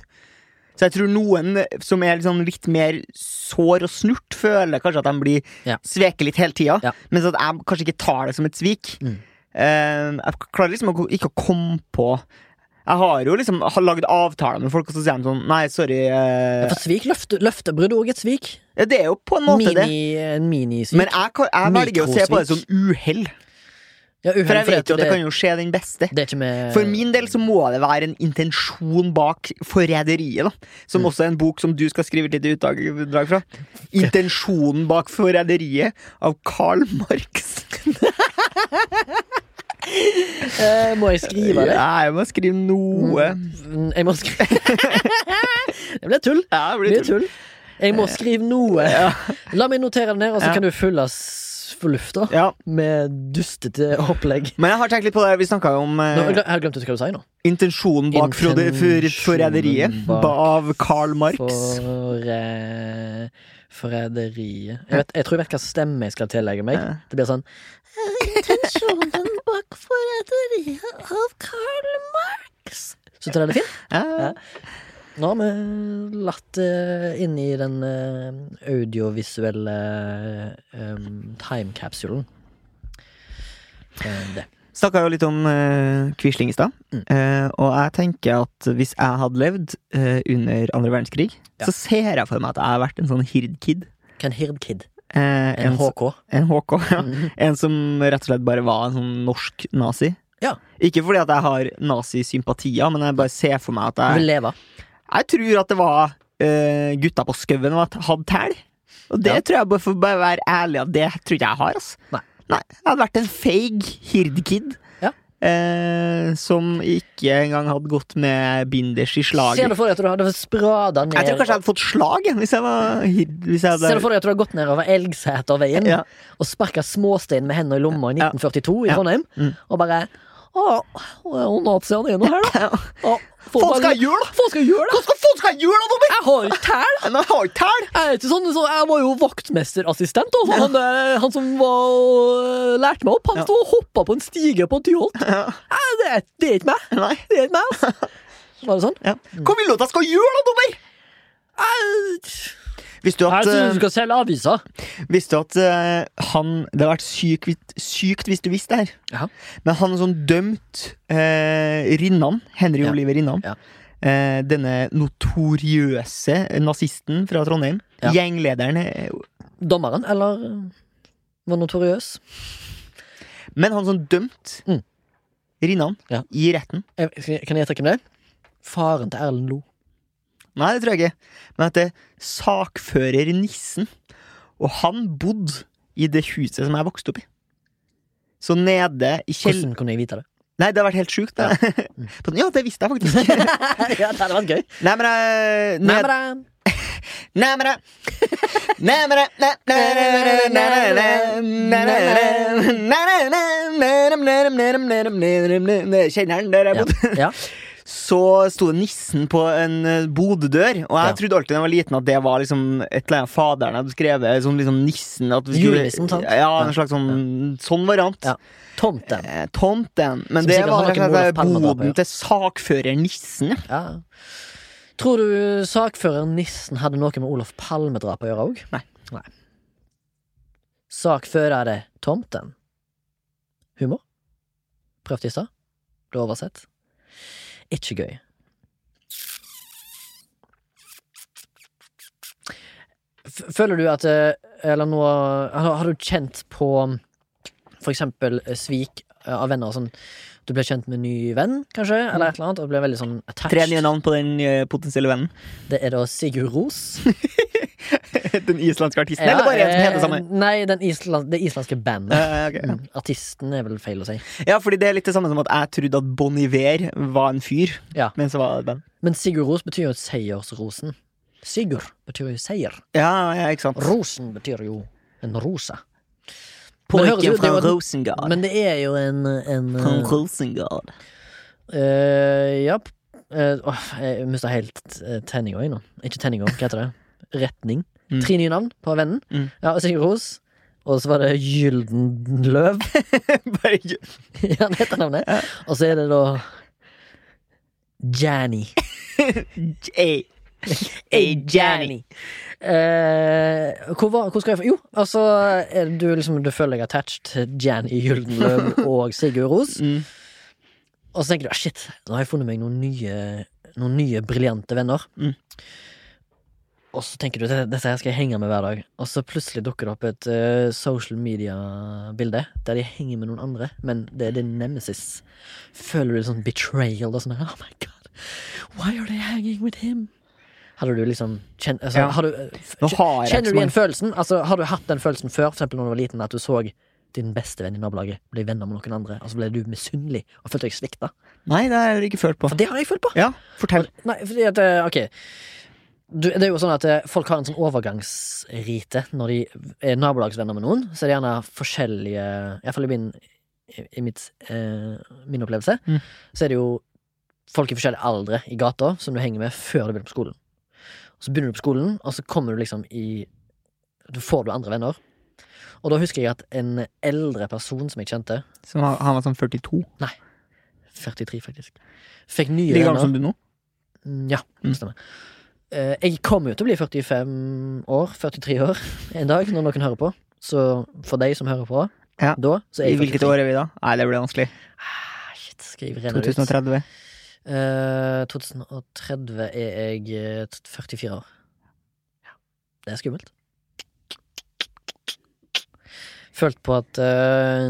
[SPEAKER 3] Så jeg tror noen som er liksom litt mer sår og snurt, føler kanskje at de blir
[SPEAKER 2] Ja.
[SPEAKER 3] sveket litt hele tida.
[SPEAKER 2] Ja.
[SPEAKER 3] Mens at jeg kanskje ikke tar det som et svik.
[SPEAKER 2] Mm.
[SPEAKER 3] Eh, jeg klarer liksom å ko- ikke å komme på Jeg har jo liksom har lagd avtaler med folk, og så sier de sånn Nei, sorry. eh,
[SPEAKER 2] For svik, løfte, løftebrudd og et svik.
[SPEAKER 3] ja, det er jo på en måte det.
[SPEAKER 2] Mini, en minisvik.
[SPEAKER 3] Men jeg, kan- jeg velger å se på det som
[SPEAKER 2] Mikrosvik.
[SPEAKER 3] uhell.
[SPEAKER 2] ja,
[SPEAKER 3] For jeg
[SPEAKER 2] uhell,
[SPEAKER 3] vet jo at det
[SPEAKER 2] det,
[SPEAKER 3] kan jo skje den beste.
[SPEAKER 2] det er ikke med
[SPEAKER 3] For min del så må det være en intensjon bak forræderiet, da.
[SPEAKER 2] Mm.
[SPEAKER 3] Som også er en bok som du skal skrive et lite utdrag utdrag fra. Intensjonen bak forræderiet av Karl Marx.
[SPEAKER 2] Eh, må jeg skrive det?
[SPEAKER 3] Nei, jeg må skrive noe.
[SPEAKER 2] Mm, Jeg må skrive Det ble tull.
[SPEAKER 3] Ja, det
[SPEAKER 2] Det
[SPEAKER 3] blir
[SPEAKER 2] blir tull. Jeg må skrive noe. La meg notere det ned, og så
[SPEAKER 3] Ja.
[SPEAKER 2] kan du fylle s- for lufta
[SPEAKER 3] Ja.
[SPEAKER 2] med dustete opplegg.
[SPEAKER 3] Men jeg har tenkt litt på det. Vi snakka jo om eh,
[SPEAKER 2] Nå, jeg gl- jeg har glemt ut hva du sa nå.
[SPEAKER 3] intensjonen bak Frode- for- forræderiet
[SPEAKER 2] Intensjonen bak-
[SPEAKER 3] av Carl Marx.
[SPEAKER 2] For eh, Forræderiet jeg, vet- jeg tror jeg vet hva stemme jeg skal tillegge meg.
[SPEAKER 3] Ja.
[SPEAKER 2] Det blir sånn Intensjonen bak forræderiet av Karl Marx. Syns du den er fin?
[SPEAKER 3] Ja.
[SPEAKER 2] Nå har vi latt det inn i den eh, audiovisuelle um, timekapsulen. Eh, det.
[SPEAKER 3] Snakka jo litt om eh, Quisling i stad.
[SPEAKER 2] Mm.
[SPEAKER 3] Eh, og jeg tenker at hvis jeg hadde levd eh, under andre verdenskrig,
[SPEAKER 2] Ja.
[SPEAKER 3] så ser jeg for meg at jeg har vært en sånn hirdkid.
[SPEAKER 2] Ken Hirdkid.
[SPEAKER 3] Eh,
[SPEAKER 2] En
[SPEAKER 3] en, s-
[SPEAKER 2] HK.
[SPEAKER 3] en HK. Ja.
[SPEAKER 2] Mhm.
[SPEAKER 3] En som rett og slett bare var en sånn norsk nazi.
[SPEAKER 2] Ja.
[SPEAKER 3] Ikke fordi at jeg har nazisympatier, men jeg bare ser for meg at
[SPEAKER 2] Du
[SPEAKER 3] jeg
[SPEAKER 2] vil leve.
[SPEAKER 3] Jeg tror at det var eh, gutta på skauen og at hadde tæl. Og det
[SPEAKER 2] Ja.
[SPEAKER 3] tror jeg bare for å bare være ærlig at det tror ikke jeg har. ass.
[SPEAKER 2] Nei.
[SPEAKER 3] Jeg hadde vært en feig hirdkid.
[SPEAKER 2] Ja.
[SPEAKER 3] eh, som ikke engang hadde gått med binders i
[SPEAKER 2] Ser du
[SPEAKER 3] slaget.
[SPEAKER 2] for deg at du hadde sprada ned
[SPEAKER 3] Jeg tror kanskje jeg hadde fått slag jeg, hvis jeg var hird... Hvis jeg
[SPEAKER 2] Ser du
[SPEAKER 3] hadde...
[SPEAKER 2] for deg at du har gått nedover Elgseterveien
[SPEAKER 3] Ja.
[SPEAKER 2] og sparka småstein med hendene i lomma i
[SPEAKER 3] Ja.
[SPEAKER 2] 1942 i
[SPEAKER 3] Ja.
[SPEAKER 2] Trondheim,
[SPEAKER 3] Mm.
[SPEAKER 2] og bare Å, hun naziene er nå her, da. Å, folk
[SPEAKER 3] Folk skal
[SPEAKER 2] bare-
[SPEAKER 3] ha jul, da!
[SPEAKER 2] Folk skal gjøre det!
[SPEAKER 3] Hva skal folk skal ha jul, da, Tommy?
[SPEAKER 2] Jeg har ikke tæl!
[SPEAKER 3] Men jeg har ikke tæl!
[SPEAKER 2] Jeg, er ikke sånn, så jeg var jo vaktmesterassistent. Altså. Han, eh, han som var, og lærte meg opp, han
[SPEAKER 3] Ja.
[SPEAKER 2] sto og hoppa på en stige på Tyholt.
[SPEAKER 3] Ja.
[SPEAKER 2] Nei, Det, er- det er ikke meg!
[SPEAKER 3] Nei.
[SPEAKER 2] Det er ikke meg, altså. Var det sånn?
[SPEAKER 3] Ja. Hva vil du at jeg skal ha jul, da, Tommy? Visste du at, eh,
[SPEAKER 2] skal selge aviser.
[SPEAKER 3] visste du at eh, han Det har vært sykt, vit- sykt hvis du visste det her.
[SPEAKER 2] Ja.
[SPEAKER 3] Men han som dømt eh, Rinnan, Henry
[SPEAKER 2] Ja.
[SPEAKER 3] Oliver Rinnan,
[SPEAKER 2] Ja.
[SPEAKER 3] eh, denne notoriøse nazisten fra Trondheim,
[SPEAKER 2] Ja.
[SPEAKER 3] gjenglederen eh,
[SPEAKER 2] Dommeren, eller eh, var notoriøs.
[SPEAKER 3] Men han som dømt
[SPEAKER 2] Mm.
[SPEAKER 3] Rinnan
[SPEAKER 2] Ja.
[SPEAKER 3] i retten
[SPEAKER 2] Jeg, skal jeg- kan jeg gjette hvem det er? Faren til Erlend Lo.
[SPEAKER 3] Nei, det tror jeg ikke. Men at det er sakfører Nissen. Og han bodde i det huset som jeg vokste opp i. Så nede i kjell...
[SPEAKER 2] Hvordan kunne jeg vite det?
[SPEAKER 3] Nei, det har vært helt sjukt. det. Sånn, Ja. det visste jeg faktisk.
[SPEAKER 2] ja, det hadde vært gøy.
[SPEAKER 3] Nei, men jeg-
[SPEAKER 2] Nei,
[SPEAKER 3] ned-
[SPEAKER 2] men eh, det-
[SPEAKER 3] Nærmere! Nærmere! Kjenneren der jeg bodde.
[SPEAKER 2] Ja.
[SPEAKER 3] Så sto det nissen på en eh, bodedør, og jeg
[SPEAKER 2] Ja.
[SPEAKER 3] trodde alltid da jeg var liten at det var liksom et eller annet faderen hadde skrevet. Som liksom nissen at vi
[SPEAKER 2] Julenissen, sant?
[SPEAKER 3] Ja,
[SPEAKER 2] Ja.
[SPEAKER 3] en slags sånn, sånn variant.
[SPEAKER 2] Ja. Tomten.
[SPEAKER 3] Eh, Tomten. Men
[SPEAKER 2] Som
[SPEAKER 3] det
[SPEAKER 2] sikkert har
[SPEAKER 3] var rett
[SPEAKER 2] noe
[SPEAKER 3] og slett
[SPEAKER 2] Olof Palme å dra på, ja.
[SPEAKER 3] boden til sakfører Nissen. ja.
[SPEAKER 2] Ja. Tror du sakfører Nissen hadde noe med Olof Palme-drapet å gjøre òg?
[SPEAKER 3] Nei.
[SPEAKER 2] Nei. Sakfører Tomten. Humor? Prøvde i stad. Ble oversett. Ikke gøy. F Føler du at eh, Eller nå Har har du kjent på for eksempel eh, svik eh, av venner? Sånn, du ble kjent med en ny venn, kanskje? Eller et eller annet? Og ble veldig sånn attached?
[SPEAKER 3] Tre nye navn på den eh, potensielle vennen.
[SPEAKER 2] Det er da Sigurd Ros.
[SPEAKER 3] Den islandske artisten,
[SPEAKER 2] Ja,
[SPEAKER 3] eller bare en som
[SPEAKER 2] eh,
[SPEAKER 3] heter det samme?
[SPEAKER 2] Nei, den island, det islandske bandet.
[SPEAKER 3] Eh, ok, ja.
[SPEAKER 2] Artisten er vel feil å si.
[SPEAKER 3] Ja, fordi det er litt det samme som at jeg trodde at Bon Iver var en fyr.
[SPEAKER 2] Ja.
[SPEAKER 3] Men så var det et band.
[SPEAKER 2] Men Sigurd Ros betyr jo seiersrosen. Sigurd betyr jo seier.
[SPEAKER 3] Ja, ja, ikke sant.
[SPEAKER 2] Rosen betyr jo en rosa. Men høres
[SPEAKER 3] Pojken
[SPEAKER 2] ut- det
[SPEAKER 3] fra
[SPEAKER 2] er jo-
[SPEAKER 3] Rosengard.
[SPEAKER 2] Men det er jo en, en
[SPEAKER 3] Fra
[SPEAKER 2] eh,
[SPEAKER 3] Rosengard.
[SPEAKER 2] eh, Ja. eh, åh, jeg mista helt uh, tenninga jeg nå. Ikke tenninga, hva heter det? Retning.
[SPEAKER 3] Mm.
[SPEAKER 2] Tre nye navn på vennen.
[SPEAKER 3] Mm.
[SPEAKER 2] Ja, Sigurd Ros. Og så var det Gyldenløv.
[SPEAKER 3] Bare ikke-
[SPEAKER 2] Ja, det heter navnet. Og så er det da Janny.
[SPEAKER 3] Ey. Ey, Johnny.
[SPEAKER 2] Eh, hvor, var, hvor skal jeg fra? Jo, altså er du, liksom, du føler deg attached til Janny Gyldenløv og Sigurd Ros.
[SPEAKER 3] Mm.
[SPEAKER 2] Og så tenker du ah, shit, nå har jeg funnet meg noen nye Noen nye briljante venner.
[SPEAKER 3] Mm.
[SPEAKER 2] Og så tenker du dette dette her skal jeg henge med hver dag. Og så plutselig dukker det opp et eh, social media-bilde der de henger med noen andre, men det er din nemesis. Føler du litt sånn betrayal og sånn her, Oh my god, why are they hanging with him? Hadde du liksom kjen, altså,
[SPEAKER 3] Ja.
[SPEAKER 2] har du, eh, f-
[SPEAKER 3] Nå har jeg ikke så
[SPEAKER 2] Kjenner du
[SPEAKER 3] mange-
[SPEAKER 2] igjen følelsen? Altså, har du hatt den følelsen før, for eksempel når du var liten, at du så din beste venn i nabolaget ble venner med noen andre, og så ble du misunnelig og følte deg svikta.
[SPEAKER 3] Nei, det har jeg ikke følt på.
[SPEAKER 2] For det har jeg følt på!
[SPEAKER 3] Ja, fortell.
[SPEAKER 2] Nei, fordi at eh, Ok. Du, det er jo sånn at eh, Folk har en sånn overgangsrite når de er nabolagsvenner med noen. Så er det gjerne forskjellige Iallfall i min, i i mitt, eh, min opplevelse.
[SPEAKER 3] Mm.
[SPEAKER 2] Så er det jo folk i forskjellige aldre i gata som du henger med før du begynner på skolen. Og så begynner du på skolen, og så kommer du liksom i Da får du andre venner. Og da husker jeg at en eldre person som jeg kjente,
[SPEAKER 3] Så han, han var sånn 42.
[SPEAKER 2] 43 faktisk, fikk nye
[SPEAKER 3] Like
[SPEAKER 2] venner.
[SPEAKER 3] gammel som du nå.
[SPEAKER 2] Mm, Ja,
[SPEAKER 3] Mm.
[SPEAKER 2] det stemmer. Eh, Jeg kommer jo til å bli 45 år, 43 år, en dag, når noen hører på. Så for deg som hører på,
[SPEAKER 3] Ja.
[SPEAKER 2] da så er
[SPEAKER 3] I
[SPEAKER 2] jeg
[SPEAKER 3] hvilket
[SPEAKER 2] 43.
[SPEAKER 3] år er vi da? Nei, det blir vanskelig.
[SPEAKER 2] Ah, shit, skal jeg renne det ut?
[SPEAKER 3] 2030.
[SPEAKER 2] Eh, 2030 er jeg eh, 44 år. Det er skummelt. Følt på at eh,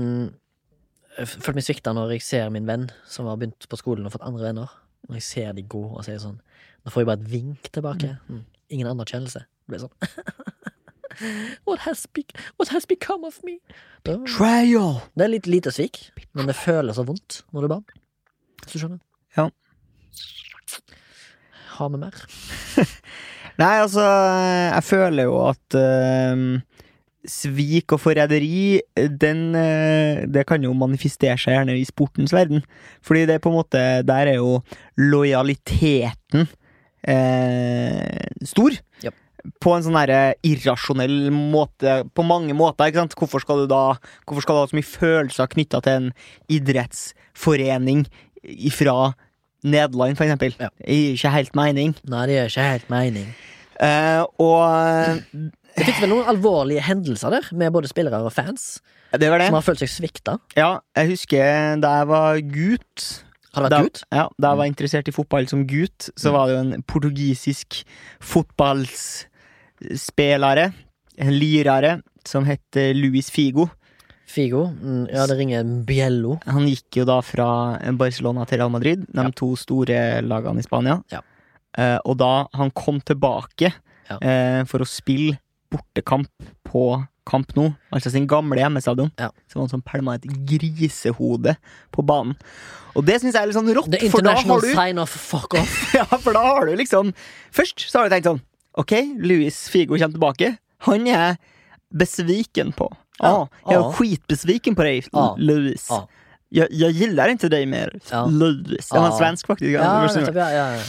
[SPEAKER 2] jeg f- Følt meg svikta når jeg ser min venn som har begynt på skolen og fått andre venner. Når jeg ser de gå og sier sånn Nå får jeg bare et vink tilbake. Mm. Ingen anerkjennelse. Det blir sånn What has, be, what has become of me? Da,
[SPEAKER 3] Trial!
[SPEAKER 2] det er litt lite svik, men det føles så vondt når du er barn. Hvis du skjønner?
[SPEAKER 3] Ja.
[SPEAKER 2] Ha med mer.
[SPEAKER 3] Nei, altså, jeg føler jo at eh, svik og forræderi, den eh, Det kan jo manifestere seg gjerne i sportens verden. Fordi det er på en måte Der er jo lojaliteten eh, stor.
[SPEAKER 2] Ja.
[SPEAKER 3] På en sånn derre irrasjonell måte, på mange måter. ikke sant? Hvorfor skal du da Hvorfor skal du ha så mye følelser knytta til en idrettsforening ifra Nederland, for eksempel?
[SPEAKER 2] Ja.
[SPEAKER 3] Det gir ikke helt mening.
[SPEAKER 2] Nei, det gjør ikke helt mening.
[SPEAKER 3] Eh, og
[SPEAKER 2] Det fikk vel noen alvorlige hendelser der, med både spillere og fans,
[SPEAKER 3] Det var det.
[SPEAKER 2] som har følt seg svikta.
[SPEAKER 3] Ja, jeg husker da jeg var gutt
[SPEAKER 2] Har det
[SPEAKER 3] da,
[SPEAKER 2] vært gutt? Mm.
[SPEAKER 3] Ja, da jeg var interessert i fotball som gutt, så var det jo en portugisisk fotballspillere, en lirare, som het eh, Luis Figo.
[SPEAKER 2] Figo? Mm, Ja, det ringer en bjello.
[SPEAKER 3] Han gikk jo da fra Barcelona til Real Madrid, de
[SPEAKER 2] Ja.
[SPEAKER 3] to store lagene i Spania.
[SPEAKER 2] Ja.
[SPEAKER 3] Eh, og da han kom tilbake
[SPEAKER 2] Ja.
[SPEAKER 3] eh, for å spille bortekamp på Kamp Nou, altså sin gamle hjemmestadion,
[SPEAKER 2] Ja.
[SPEAKER 3] så var han som pælma et grisehode på banen. Og det syns jeg er litt sånn rått,
[SPEAKER 2] The
[SPEAKER 3] for da har
[SPEAKER 2] international
[SPEAKER 3] du
[SPEAKER 2] sign of fuck off.
[SPEAKER 3] ja, for da har du liksom Først så har du tenkt sånn Ok, Louis Figo kommer tilbake Han er besviken på Ja,
[SPEAKER 2] Ja, ah.
[SPEAKER 3] jeg er
[SPEAKER 2] ja.
[SPEAKER 3] skitbesviken på deg,
[SPEAKER 2] Ja,
[SPEAKER 3] Louis
[SPEAKER 2] ja.
[SPEAKER 3] Jeg, jeg gillar inte dig mer,
[SPEAKER 2] Ja.
[SPEAKER 3] Louis Han
[SPEAKER 2] Ja.
[SPEAKER 3] var svensk faktisk
[SPEAKER 2] Ja,
[SPEAKER 3] han var svensk.
[SPEAKER 2] nettopp, ja, ja. ja.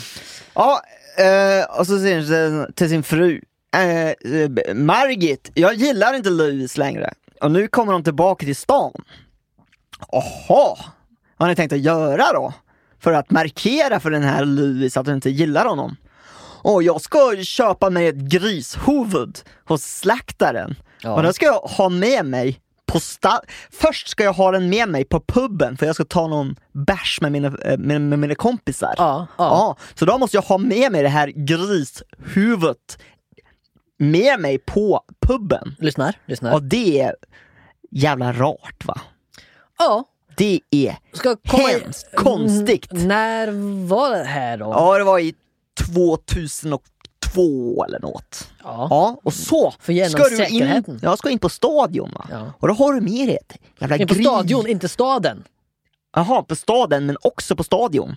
[SPEAKER 3] Ja, eh, och så säger han till- till sin fru eh, eh, Margit, jag gillar inte Louis längre Och nu kommer han tillbaka till stan Aha, vad har ni tänkt att göra då? För att markera för den här Louis att du inte gillar honom Och jag ska köpa mig ett grishuvud hos slaktaren
[SPEAKER 2] Ja.
[SPEAKER 3] Och då ska jag ha med mig på sta- Först ska jag ha den med mig på puben för jag ska ta någon bärs med mina, eh, med, med mina kompisar
[SPEAKER 2] Ja, ja.
[SPEAKER 3] Ja, så da måste jag ha med mig det här grishuvudet med mig på puben.
[SPEAKER 2] Lyssna här. Lyssna här.
[SPEAKER 3] Och det är jävla rart va?
[SPEAKER 2] Ja.
[SPEAKER 3] Det är...
[SPEAKER 2] Ska komma in-
[SPEAKER 3] Hemskt konstigt.
[SPEAKER 2] N- När var det här då?
[SPEAKER 3] Ja, det var i 2002 eller något.
[SPEAKER 2] Ja.
[SPEAKER 3] Ja, och så
[SPEAKER 2] För genom
[SPEAKER 3] ska du in,
[SPEAKER 2] säkerheten.
[SPEAKER 3] ja, ska in på stadion va?
[SPEAKER 2] Ja.
[SPEAKER 3] Och då har du med dig ett jävla
[SPEAKER 2] In på
[SPEAKER 3] gris-
[SPEAKER 2] stadion, inte staden.
[SPEAKER 3] Jaha, på staden men också på stadion.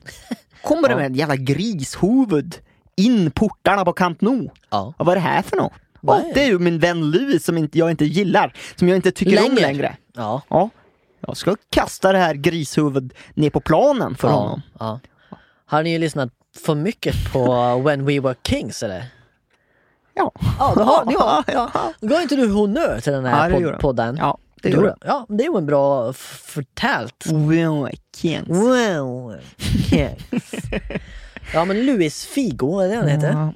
[SPEAKER 3] Kommer du
[SPEAKER 2] Ja.
[SPEAKER 3] med ett jävla grishuvud in portarna på Camp Nou?
[SPEAKER 2] Ja.
[SPEAKER 3] Vad var det här för något?
[SPEAKER 2] Vad
[SPEAKER 3] Ja,
[SPEAKER 2] är det?
[SPEAKER 3] det är ju min vän Louis som inte, jag inte gillar, som jag inte tycker om
[SPEAKER 2] Längre.
[SPEAKER 3] längre.
[SPEAKER 2] Ja.
[SPEAKER 3] Ja, jag ska kasta det här grishuvudet ner på planen för honom.
[SPEAKER 2] Ja. Har ni lyssnat för mycket på When We Were Kings eller?
[SPEAKER 3] Ja,
[SPEAKER 2] Ja, det har ni ja.
[SPEAKER 3] ja, ja.
[SPEAKER 2] Gav inte du honnör till den här
[SPEAKER 3] Ja, det
[SPEAKER 2] pod
[SPEAKER 3] gjorde jag.
[SPEAKER 2] podden?
[SPEAKER 3] ja det
[SPEAKER 2] Jo
[SPEAKER 3] gjorde
[SPEAKER 2] då. Ja, det är ju en bra f- förtält.
[SPEAKER 3] jag. Wow, Kings.
[SPEAKER 2] Well, Kings. Ja, men Louis Figo, är det han heter?
[SPEAKER 3] Ja.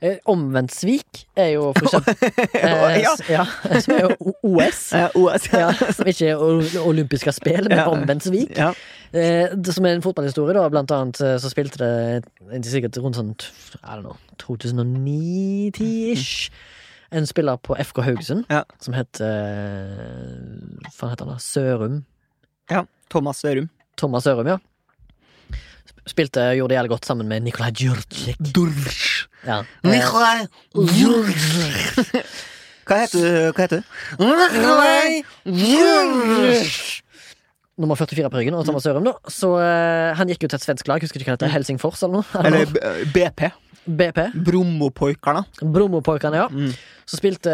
[SPEAKER 2] Eh, Omvänt svik är ju för exempel... eh,
[SPEAKER 3] Ja.
[SPEAKER 2] s- ja, som är o- OS.
[SPEAKER 3] Eh, OS.
[SPEAKER 2] Ja, som ikke er o- olympiske spill, men
[SPEAKER 3] Ja.
[SPEAKER 2] omvendt svik.
[SPEAKER 3] Ja.
[SPEAKER 2] Eh, det som er en fotballhistorie, da. Blant annet eh, så spilte det inntil sikkert rundt sånn t- I don't know, 2009-ish. En spiller på FK Haugesund
[SPEAKER 3] Ja.
[SPEAKER 2] som het eh, Hva faen heter han da? Sørum?
[SPEAKER 3] ja, Thomas Sørum.
[SPEAKER 2] Thomas Sørum, ja. Sp- Spilte, gjorde det jævlig godt sammen med Nikolaj Djurdjic.
[SPEAKER 3] Dursch.
[SPEAKER 2] Ja. Eh,
[SPEAKER 3] Nikolaj Dursch. Hva heter du? Hva heter du?
[SPEAKER 2] Nummer 44 på ryggen, og Thomas Sørum, da. Så eh, han gikk jo til et svensk lag, husker ikke hva det heter. Helsingfors, eller noe?
[SPEAKER 3] Mm. Eller eh, B- BP.
[SPEAKER 2] BP.
[SPEAKER 3] Brommopojkarna.
[SPEAKER 2] Brommopojkene, ja.
[SPEAKER 3] Mm.
[SPEAKER 2] Så spilte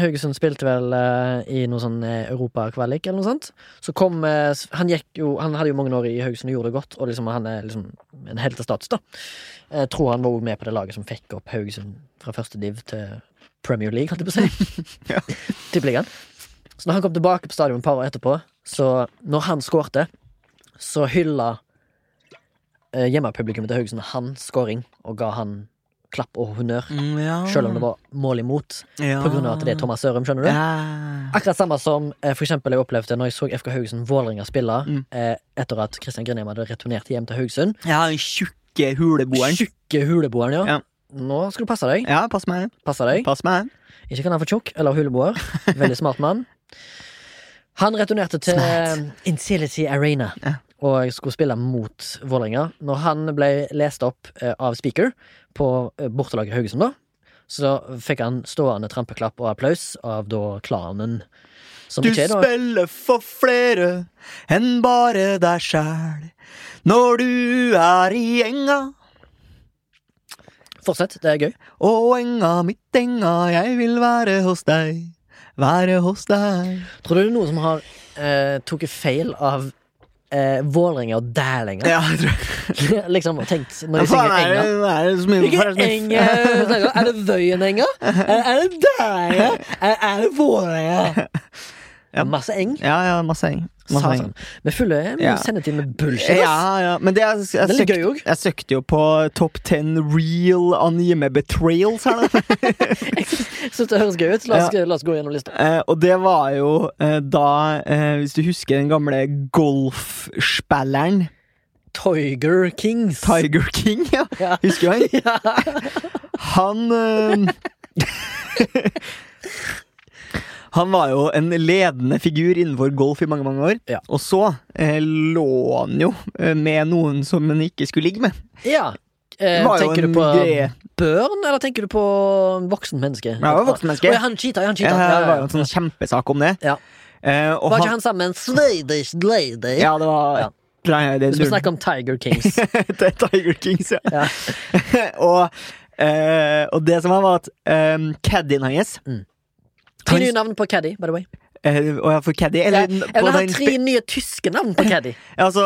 [SPEAKER 2] Haugesund spilte vel eh, i noe sånn eh, europakvalik eller noe sånt. Så kom eh, s- Han gikk jo Han hadde jo mange år i Haugesund og gjorde det godt, og liksom han er liksom en heltestatus, da. Jeg tror han var også med på det laget som fikk opp Haugesund fra første div til Premier League, holdt jeg på å si.
[SPEAKER 3] Ja.
[SPEAKER 2] Tippeligaen. Så når han kom tilbake på stadion et par år etterpå, så når han skårte, så hylla eh, hjemmepublikummet til Haugesund hans skåring og ga han klapp og honnør.
[SPEAKER 3] Mm, ja.
[SPEAKER 2] Selv om det var mål imot,
[SPEAKER 3] ja.
[SPEAKER 2] på grunn av at det er Thomas Sørum. skjønner du?
[SPEAKER 3] Ah. Ja.
[SPEAKER 2] Akkurat samme som eh, for eksempel jeg opplevde når jeg så FK Haugesund Vålerenga spille
[SPEAKER 3] Mm.
[SPEAKER 2] eh, etter at Christian Grinheim hadde returnert hjem til Haugesund.
[SPEAKER 3] ja, den tjukke huleboeren.
[SPEAKER 2] Tjukke huleboeren, ja.
[SPEAKER 3] Ja.
[SPEAKER 2] Nå skal du passe deg.
[SPEAKER 3] Ja, pass meg.
[SPEAKER 2] Passe deg.
[SPEAKER 3] Pass meg.
[SPEAKER 2] Ikke kan han få tjukk eller huleboer. Veldig smart mann. Han returnerte til
[SPEAKER 3] Smart.
[SPEAKER 2] Incility Arena
[SPEAKER 3] Ja.
[SPEAKER 2] og skulle spille mot Vålerenga. Når han ble lest opp eh, av speaker på eh, bortelaget Haugesund, da, så fikk han stående trampeklapp og applaus av da klanen. Som
[SPEAKER 3] Du
[SPEAKER 2] ikke er da
[SPEAKER 3] spiller for flere enn bare deg sjæl. Når du er i enga,
[SPEAKER 2] Fortsett, det er gøy.
[SPEAKER 3] og enga mitt enga, jeg vil være hos deg. Være hos deg.
[SPEAKER 2] Tror du det er noen som har eh, tatt feil av eh, Vålerenga og Dælenga?
[SPEAKER 3] Ja, jeg tror
[SPEAKER 2] liksom tenkt når
[SPEAKER 3] Hva
[SPEAKER 2] de synger
[SPEAKER 3] faen er
[SPEAKER 2] Enga.
[SPEAKER 3] det- hva er det som
[SPEAKER 2] Ikke
[SPEAKER 3] innenfor det som-
[SPEAKER 2] Enga snakker om. Er det Vøyenenga? Er, er det Dælenga? Er, er det Vålerenga?
[SPEAKER 3] Ja.
[SPEAKER 2] Masse eng.
[SPEAKER 3] Ja, ja, masse eng. Masse eng.
[SPEAKER 2] Satan. Vi fyller mye
[SPEAKER 3] Ja.
[SPEAKER 2] sendetid med bullshit. ass.
[SPEAKER 3] Ja, ja, men det, jeg, jeg,
[SPEAKER 2] Det er litt
[SPEAKER 3] søkte,
[SPEAKER 2] gøy òg.
[SPEAKER 3] jeg søkte jo på Top 10 real anime betrayals her, da.
[SPEAKER 2] Syns det høres gøy ut. La oss, la oss gå gjennom lista.
[SPEAKER 3] Eh, og det var jo eh, da, eh, hvis du husker den gamle golfspilleren
[SPEAKER 2] Tiger Kings.
[SPEAKER 3] Tiger King, ja.
[SPEAKER 2] Ja.
[SPEAKER 3] Husker du han?
[SPEAKER 2] Ja.
[SPEAKER 3] Han eh, Han var jo en ledende figur innenfor golf i mange mange år.
[SPEAKER 2] Ja.
[SPEAKER 3] Og så eh, lå han jo eh, med noen som han ikke skulle ligge med.
[SPEAKER 2] ja.
[SPEAKER 3] Det
[SPEAKER 2] Eh,
[SPEAKER 3] var jo
[SPEAKER 2] tenker du
[SPEAKER 3] en
[SPEAKER 2] på
[SPEAKER 3] greie.
[SPEAKER 2] børn, eller tenker du på voksen menneske?
[SPEAKER 3] Ja, det var voksen menneske.
[SPEAKER 2] Å, ja, han cheata, ja, han
[SPEAKER 3] Eh,
[SPEAKER 2] cheata. Ja,
[SPEAKER 3] det
[SPEAKER 2] ja,
[SPEAKER 3] var
[SPEAKER 2] ja.
[SPEAKER 3] jo en sånn kjempesak om det.
[SPEAKER 2] Ja.
[SPEAKER 3] Eh, og
[SPEAKER 2] Var ikke
[SPEAKER 3] han,
[SPEAKER 2] han sammen med en Swedish lady?
[SPEAKER 3] Ja, det var
[SPEAKER 2] Ja.
[SPEAKER 3] Nei, det,
[SPEAKER 2] Hvis vi snakker om Tiger Kings.
[SPEAKER 3] Det er Tiger Kings, ja.
[SPEAKER 2] Ja.
[SPEAKER 3] og, eh, og det som var, var at eh, caddien hans
[SPEAKER 2] Mm. Tre nye navn på Caddy, by the way.
[SPEAKER 3] eh, Å ja, for caddy?
[SPEAKER 2] Ja,
[SPEAKER 3] Eller
[SPEAKER 2] Jeg
[SPEAKER 3] på
[SPEAKER 2] vil ha
[SPEAKER 3] den-
[SPEAKER 2] tre nye tyske navn på Caddy.
[SPEAKER 3] Altså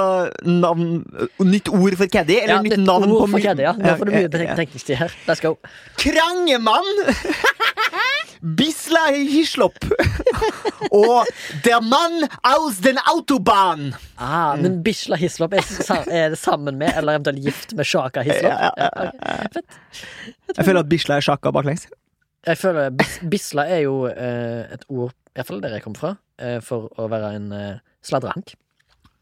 [SPEAKER 3] navn eh, Nytt ord for caddy? Eller
[SPEAKER 2] Ja,
[SPEAKER 3] nytt,
[SPEAKER 2] nytt
[SPEAKER 3] navn
[SPEAKER 2] ord for
[SPEAKER 3] på my-
[SPEAKER 2] Caddy, ja. Nå får du mye
[SPEAKER 3] ja, eh, ja.
[SPEAKER 2] tek- teknisk tid her. Let's go.
[SPEAKER 3] Krangemann! Bisla Hislop. og Der Mann aus den Autobahn.
[SPEAKER 2] Ah,
[SPEAKER 3] Mm.
[SPEAKER 2] Men Bisla Hislop er, sa- er sammen med, eller eventuelt gift med, Shaka Hislop?
[SPEAKER 3] Ja,
[SPEAKER 2] Ja, ok. Fett.
[SPEAKER 3] Jeg føler at Bisla er sjakka baklengs.
[SPEAKER 2] Jeg føler Bis Bisla er jo eh, et ord, iallfall der jeg kom fra, eh, for å være en eh, sladrehank.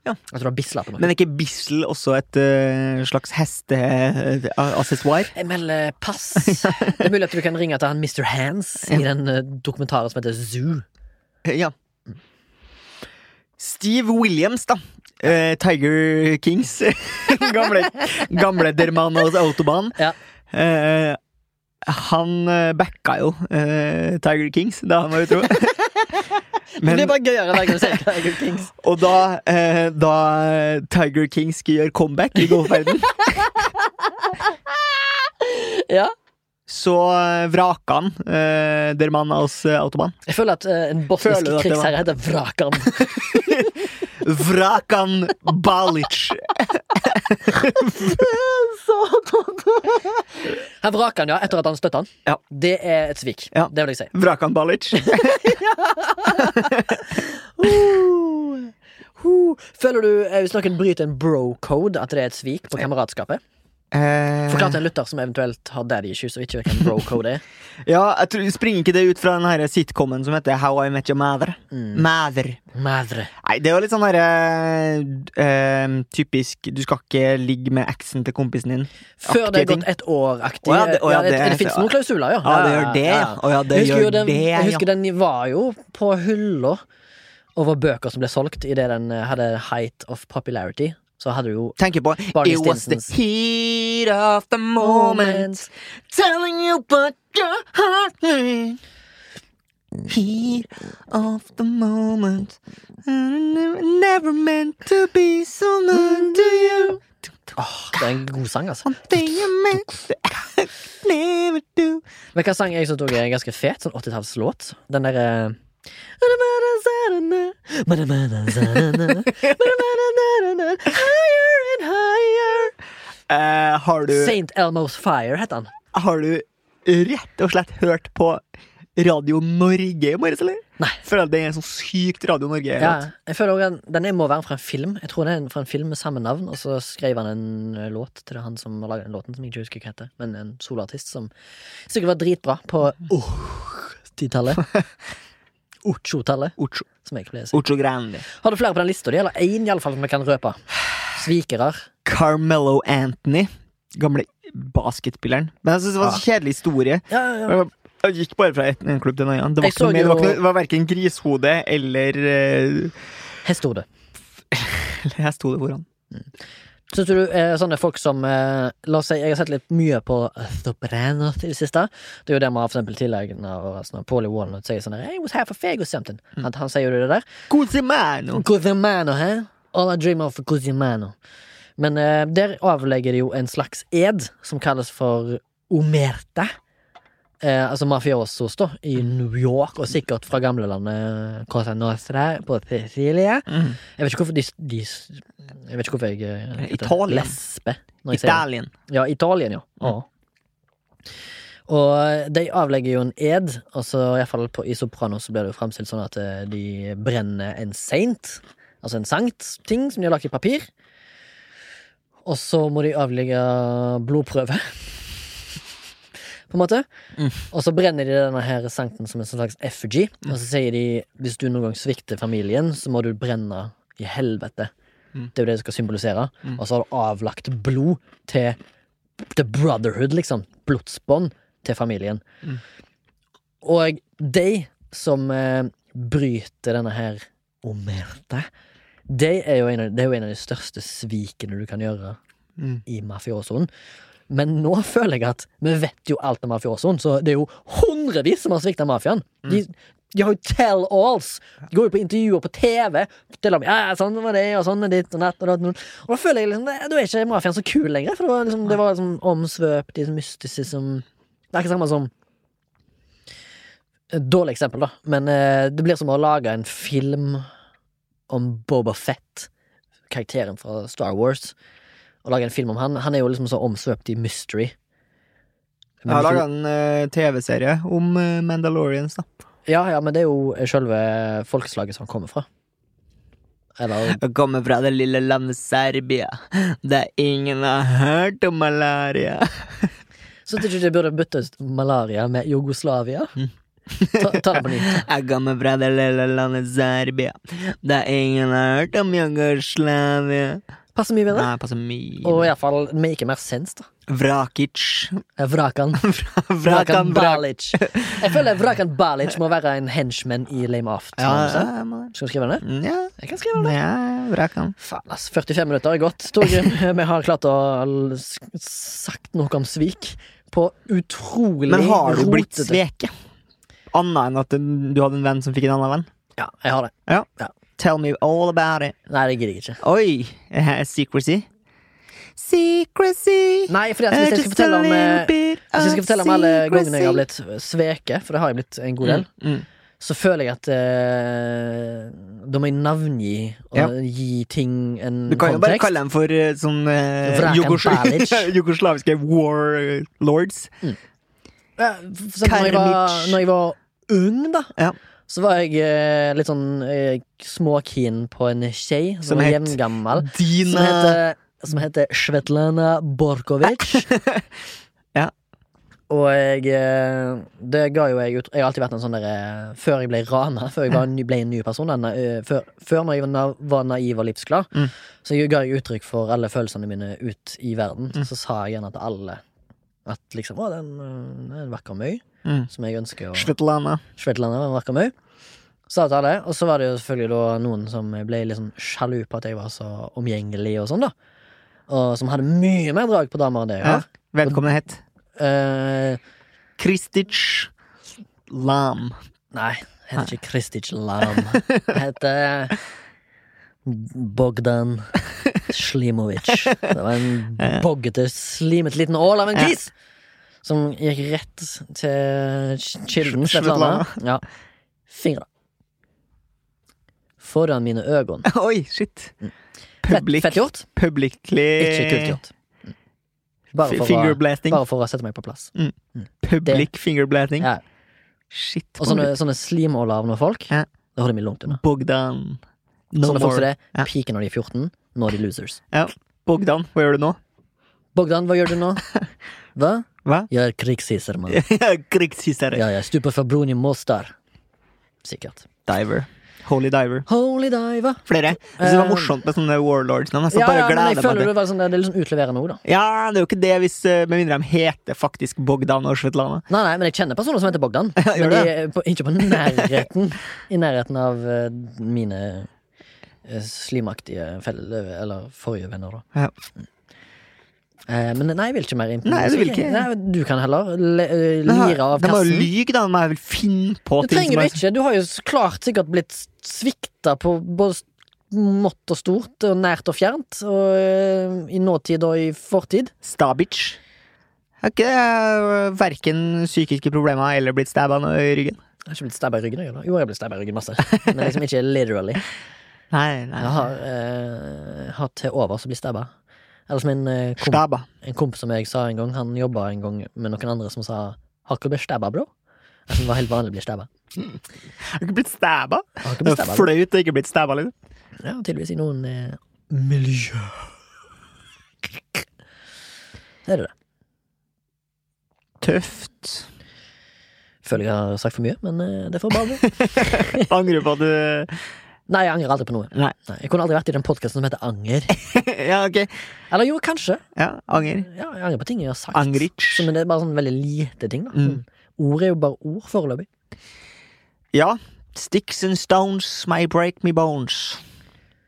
[SPEAKER 3] Ja.
[SPEAKER 2] At du har bisla på noe.
[SPEAKER 3] Men er ikke Bissel også et eh, slags eh, hesteaccessoire?
[SPEAKER 2] Jeg melder eh, pass. Det er mulig at du kan ringe til han Mr. Hands i den eh, dokumentaren som heter Zoo.
[SPEAKER 3] Ja. Steve Williams, da. Eh, Tiger Kings. gamle gamle Dermanos Autobahn.
[SPEAKER 2] Ja.
[SPEAKER 3] Eh, han eh, backa jo eh, Tiger Kings, da han var utro.
[SPEAKER 2] Men, det
[SPEAKER 3] Men,
[SPEAKER 2] er bare gøyere hver gang du ser Tiger Kings.
[SPEAKER 3] og da, eh, da Tiger King skulle gjøre comeback i golfverdenen,
[SPEAKER 2] Ja.
[SPEAKER 3] så vraka han eh, Dermanos Autobahn.
[SPEAKER 2] Jeg føler at eh, en bosnisk
[SPEAKER 3] Føler du at det var-
[SPEAKER 2] krigsherre heter Vrakan.
[SPEAKER 3] Vrakan Balic.
[SPEAKER 2] Han vraker han, ja, etter at han støtter han.
[SPEAKER 3] Ja.
[SPEAKER 2] Det er et svik.
[SPEAKER 3] Ja.
[SPEAKER 2] Det vil jeg si.
[SPEAKER 3] Vrakan Balic.
[SPEAKER 2] Huh. Føler du, eh, hvis noen bryter en bro-code, at det er et svik på kameratskapet?
[SPEAKER 3] Eh,
[SPEAKER 2] Forklar til en lytter som eventuelt har daddy issues og ikke vet hva en bro-code er.
[SPEAKER 3] Ja, jeg tror, springer ikke det ut fra den her sitcomen som heter How I Met Your Mother?
[SPEAKER 2] Mm.
[SPEAKER 3] Mother.
[SPEAKER 2] Madre.
[SPEAKER 3] Nei, det er jo litt sånn herre eh, Typisk du skal ikke ligge med eksen til kompisen din.
[SPEAKER 2] Før det
[SPEAKER 3] Aktige
[SPEAKER 2] er gått ett år-aktig.
[SPEAKER 3] Å ja, det- å ja,
[SPEAKER 2] det,
[SPEAKER 3] det-
[SPEAKER 2] det fins noen klausuler, ja.
[SPEAKER 3] Ja, det gjør det, ja. Å ja, det
[SPEAKER 2] jeg husker,
[SPEAKER 3] gjør
[SPEAKER 2] jo den,
[SPEAKER 3] det,
[SPEAKER 2] jeg
[SPEAKER 3] ja.
[SPEAKER 2] husker den var jo på hylla over bøker som ble solgt idet den eh, hadde height of popularity. Så hadde du jo
[SPEAKER 3] Tenker på
[SPEAKER 2] Barney
[SPEAKER 3] It was the
[SPEAKER 2] Stinsons.
[SPEAKER 3] heat of the moment Telling you what your heart needs. Heat of the moment. Never meant to be so meant to you.
[SPEAKER 2] Det er en god sang, altså.
[SPEAKER 3] Something you meant to never do.
[SPEAKER 2] Men hva sang jeg som tok er ganske fet? Sånn 80-tallslåt? Den eh, derre Higher and higher Uh,
[SPEAKER 3] Eh, har, du,
[SPEAKER 2] St. Elmo's Fire heter han.
[SPEAKER 3] har du rett og slett hørt på Radio Norge i morges, eller?
[SPEAKER 2] Nei.
[SPEAKER 3] Føler at det er en sånn sykt Radio Norge.
[SPEAKER 2] Ja, jeg føler også den, den må være fra en film. Jeg tror den er en- fra en film med samme navn, og så skrev han en eh, låt til det, han som laget den låten, som jeg ikke husker hva heter, men en soloartist som sikkert var dritbra på Åh-titallet. Ocho-tallet,
[SPEAKER 3] Ocho,
[SPEAKER 2] som jeg pleier å si.
[SPEAKER 3] Ocho Grande.
[SPEAKER 2] Har du flere på den lista di, eller én iallfall som vi kan røpe? Svikere.
[SPEAKER 3] Carmelo Anthony. Gamle basketspilleren. Men jeg synes det var en så kjedelig historie.
[SPEAKER 2] Ja, ja.
[SPEAKER 3] Jeg jeg gikk bare fra en klubb til en annen. Det var,
[SPEAKER 2] Jeg
[SPEAKER 3] ikke noe
[SPEAKER 2] så
[SPEAKER 3] mer, det var,
[SPEAKER 2] jo-
[SPEAKER 3] ikke noe, det var verken grishode eller uh,
[SPEAKER 2] Hestehode.
[SPEAKER 3] Jeg sto det foran.
[SPEAKER 2] Syns du eh, sånne folk som eh, La oss si, jeg har sett litt mye på Sopranos i det siste. Det er jo det vi har for eksempel tilegna oss når Paulie Walnut sier sånn der, I was half a fag or something. At han sier jo det der.
[SPEAKER 3] Cosimano!
[SPEAKER 2] Guzimano, hæ? All I dream of Guzimano. Men eh, der avlegger de jo en slags ed som kalles for omerta. Eh, altså mafiosos, da, i New York, og sikkert fra gamlelandet Cosa Nostra på Sicilia.
[SPEAKER 3] Mm.
[SPEAKER 2] Jeg vet ikke hvorfor de, de Jeg vet ikke hvorfor jeg eh,
[SPEAKER 3] Italien.
[SPEAKER 2] lesper når jeg sier det.
[SPEAKER 3] Italien.
[SPEAKER 2] Ja, Italien, ja. ja. Og eh, de avlegger jo en ed, og så i hvert fall på, i Soprano så blir det jo fremstilt sånn at eh, de brenner en saint, altså en sankt ting som de har lagt i papir. Og så må de avlegge blodprøve. På en måte. Og så brenner de denne her sankten som en sånn slags effigy. Og så sier de hvis du noen gang svikter familien, så må du brenne i helvete. Det er jo det det skal symbolisere. Og så har du avlagt blod til The Brotherhood, liksom. Blodsbånd til familien. Og de som eh, bryter denne her omerte, de er jo en av, det er jo en av de største svikene du kan gjøre
[SPEAKER 3] Mm.
[SPEAKER 2] i mafiosoen. Men nå føler jeg at vi vet jo alt om mafiosoen, så det er jo hundrevis som har svikta mafiaen. De, de har jo tell-alls. De går jo på intervjuer på TV. Forteller om ja, ja, sånn var det, og sånn er ditt og natt. Og, datt. og da føler jeg liksom, det- da er ikke mafiaen så kul lenger, for det var liksom, det var liksom omsvøpt i sånn mysticism. Det er ikke samme som et Dårlig eksempel, da, men eh, det blir som å lage en film om Boba Fett, karakteren fra Star Wars å lage en film om han. Han er jo liksom så omsvøpt i mystery.
[SPEAKER 3] Jeg har
[SPEAKER 2] Men
[SPEAKER 3] laga
[SPEAKER 2] ikke-
[SPEAKER 3] en eh, TV-serie om eh, Mandalorians, da.
[SPEAKER 2] ja, ja, men det er jo sjølve folkeslaget som han kommer fra. Eller
[SPEAKER 3] Jeg kommer fra det lille landet Serbia, der ingen har hørt om malaria.
[SPEAKER 2] Syns du ikke de burde bytte ut malaria med Jugoslavia? Ta, ta det på nytt.
[SPEAKER 3] Jeg kommer fra det lille landet Serbia, der ingen har hørt om Jugoslavia.
[SPEAKER 2] Passer mye bedre.
[SPEAKER 3] Nei, passer mye.
[SPEAKER 2] Og iallfall maker mer sens, da.
[SPEAKER 3] Vrakic.
[SPEAKER 2] Eh, Vrakan. Vrakan
[SPEAKER 3] Vrakan Vrak.
[SPEAKER 2] Balic. Jeg føler Vrakan Balic må være en henchman i Lame Aft.
[SPEAKER 3] Ja,
[SPEAKER 2] Skal
[SPEAKER 3] ja, må det.
[SPEAKER 2] du skrive den ned?
[SPEAKER 3] ja,
[SPEAKER 2] Jeg kan skrive den ned.
[SPEAKER 3] ja, Vrakan.
[SPEAKER 2] Faen, ass. 45 minutter er gått. Torgrim, vi har klart å l- s- sagt noe om svik på utrolig
[SPEAKER 3] Men har du blitt
[SPEAKER 2] rotete-
[SPEAKER 3] sveket? Annet enn at du du hadde en venn som fikk en annen venn?
[SPEAKER 2] Ja, jeg har det.
[SPEAKER 3] Ja.
[SPEAKER 2] Ja.
[SPEAKER 3] Tell me all about it.
[SPEAKER 2] Nei, det gidder jeg ikke.
[SPEAKER 3] Oi! eh, Secrecy. Secrecy.
[SPEAKER 2] Nei, fordi at hvis jeg skal fortelle om eh, Hvis jeg skal fortelle om alle gangene jeg har blitt sveket, for det har jeg blitt en god del,
[SPEAKER 3] Mm.
[SPEAKER 2] så føler jeg at eh, da må jeg navngi og
[SPEAKER 3] Ja.
[SPEAKER 2] gi ting en
[SPEAKER 3] Du kan jo bare
[SPEAKER 2] kontekst.
[SPEAKER 3] kalle dem for eh, sånn eh,
[SPEAKER 2] Vrakan
[SPEAKER 3] jugos
[SPEAKER 2] Balic. jo
[SPEAKER 3] jugoslaviske warlords.
[SPEAKER 2] Når jeg, var,
[SPEAKER 3] Karmic.
[SPEAKER 2] når jeg var ung, da,
[SPEAKER 3] Ja.
[SPEAKER 2] så var jeg eh, litt sånn eh, småkeen på en skei som,
[SPEAKER 3] Som
[SPEAKER 2] var
[SPEAKER 3] het-
[SPEAKER 2] jevngammel. Som
[SPEAKER 3] Dina
[SPEAKER 2] heter, som heter Svetlana Borkovic.
[SPEAKER 3] Ja.
[SPEAKER 2] Og jeg eh, Det ga jo jeg ut Jeg har alltid vært en sånn derre Før jeg ble rana, før jeg var, en ny- ble en ny person, da, na- eh, før, før når jeg var na- var naiv og livsglad,
[SPEAKER 3] Mm.
[SPEAKER 2] så jeg ga jeg uttrykk for alle følelsene mine ut i verden.
[SPEAKER 3] Mm.
[SPEAKER 2] Så sa jeg gjerne til alle at liksom Å, den eh, er en vakker møy,
[SPEAKER 3] Mm.
[SPEAKER 2] som jeg ønsker å
[SPEAKER 3] Svetlana.
[SPEAKER 2] Svetlana var vakker meg. Sa til alle, og så var det jo selvfølgelig da noen som ble litt sånn sjalu på at jeg var så omgjengelig og sånn, da. Og som hadde mye mer drag på damer enn det jeg
[SPEAKER 3] Ja.
[SPEAKER 2] har.
[SPEAKER 3] Vedkommende het
[SPEAKER 2] Eh,
[SPEAKER 3] Kristic Lam.
[SPEAKER 2] Nei, jeg heter ikke Kristic Lam. Jeg heter Bogdan Slimovic. Det var en boggete, slimet liten ål av en gris! Som gikk rett til kilden.
[SPEAKER 3] Sl-
[SPEAKER 2] Svetlana. Ja. Fingra. Foran mine øyne.
[SPEAKER 3] Oi, shit.
[SPEAKER 2] Fett,
[SPEAKER 3] Public,
[SPEAKER 2] Mm. fett gjort,
[SPEAKER 3] publicly
[SPEAKER 2] ikke kult gjort. Mm. Bare for, å,
[SPEAKER 3] Fingerblasting.
[SPEAKER 2] bare for å sette meg på plass.
[SPEAKER 3] Public fingerblasting.
[SPEAKER 2] Ja.
[SPEAKER 3] Shit.
[SPEAKER 2] Og sånne, sånne slimåler av noen folk,
[SPEAKER 3] Ja.
[SPEAKER 2] det holder vi langt unna.
[SPEAKER 3] Bogdan. No
[SPEAKER 2] sånne folk som
[SPEAKER 3] more.
[SPEAKER 2] det
[SPEAKER 3] Ja.
[SPEAKER 2] piker når de er 14, nå er de losers.
[SPEAKER 3] Ja. Bogdan, hva gjør du nå?
[SPEAKER 2] Bogdan, hva gjør du nå? Hva?
[SPEAKER 3] Hva?
[SPEAKER 2] Jeg er krigshisser, mann.
[SPEAKER 3] Krigshissere.
[SPEAKER 2] Ja, jeg stuper fra broen i Mostar. Sikkert.
[SPEAKER 3] Diver. Holy diver.
[SPEAKER 2] Holy diva.
[SPEAKER 3] Flere. Jeg synes det var
[SPEAKER 2] Eh,
[SPEAKER 3] morsomt med sånne warlords-navn. Jeg skal
[SPEAKER 2] Ja,
[SPEAKER 3] bare
[SPEAKER 2] ja, men jeg
[SPEAKER 3] glede meg
[SPEAKER 2] føler
[SPEAKER 3] til
[SPEAKER 2] det var sånn, det er litt sånn utleverende ord, da.
[SPEAKER 3] Ja, det er jo ikke det, hvis, eh, med mindre de heter faktisk Bogdan og Svetlana.
[SPEAKER 2] Nei, nei, men jeg kjenner personer som heter Bogdan.
[SPEAKER 3] gjør
[SPEAKER 2] men de er på, ikke på nærheten I nærheten av eh, mine eh, slimaktige felle... Eller forrige venner, da.
[SPEAKER 3] Ja.
[SPEAKER 2] Eh, men nei, jeg vil ikke mer inn på
[SPEAKER 3] Nei, du vil ikke.
[SPEAKER 2] Nei, du kan heller le, eh, lire av
[SPEAKER 3] De må jo
[SPEAKER 2] kassen.
[SPEAKER 3] lyge, da. De må vel finne på
[SPEAKER 2] Det
[SPEAKER 3] ting som
[SPEAKER 2] trenger du
[SPEAKER 3] er-
[SPEAKER 2] ikke. Du har jo s- klart sikkert blitt s- svikta på både s- mått og stort, og nært og fjernt, og øh, i nåtid og i fortid.
[SPEAKER 3] Stabic. Har ikke eh, verken psykiske problemer eller blitt stabba nå i ryggen.
[SPEAKER 2] Jeg har ikke blitt stabba i ryggen, jeg, da. Jo, jeg har blitt stabba i ryggen masse, men liksom ikke literally.
[SPEAKER 3] Nei, nei.
[SPEAKER 2] Jeg har øh, hatt til overs å bli stabba. Eller som en, øh, komp
[SPEAKER 3] Stabba.
[SPEAKER 2] en kompis som jeg sa en gang, han jobba en gang med noen andre som sa 'Har ikke du blitt stabba, bro?' Altså, det var helt vanlig å bli stabba.
[SPEAKER 3] Har ikke blitt stabba?
[SPEAKER 2] Har ikke
[SPEAKER 3] Det
[SPEAKER 2] blitt
[SPEAKER 3] er
[SPEAKER 2] stabba, bro.
[SPEAKER 3] Flaut å ikke blitt stabba, liksom.
[SPEAKER 2] Ja, tydeligvis i noen eh, miljø. Det er det.
[SPEAKER 3] Tøft.
[SPEAKER 2] Føler jeg har sagt for mye, men eh, det får bare bli.
[SPEAKER 3] Angrer på at du
[SPEAKER 2] Nei, jeg angrer aldri på noe.
[SPEAKER 3] Nei.
[SPEAKER 2] jeg kunne aldri vært i den podkasten som heter Anger.
[SPEAKER 3] Ja, ok.
[SPEAKER 2] Eller jo, kanskje.
[SPEAKER 3] Ja, anger.
[SPEAKER 2] Ja, jeg angrer på ting jeg har sagt.
[SPEAKER 3] Angric.
[SPEAKER 2] Så, men det er bare sånn veldig lite ting, da. Sånn,
[SPEAKER 3] Mm.
[SPEAKER 2] Ord er jo bare ord foreløpig.
[SPEAKER 3] Ja. Sticks and stones may break me bones.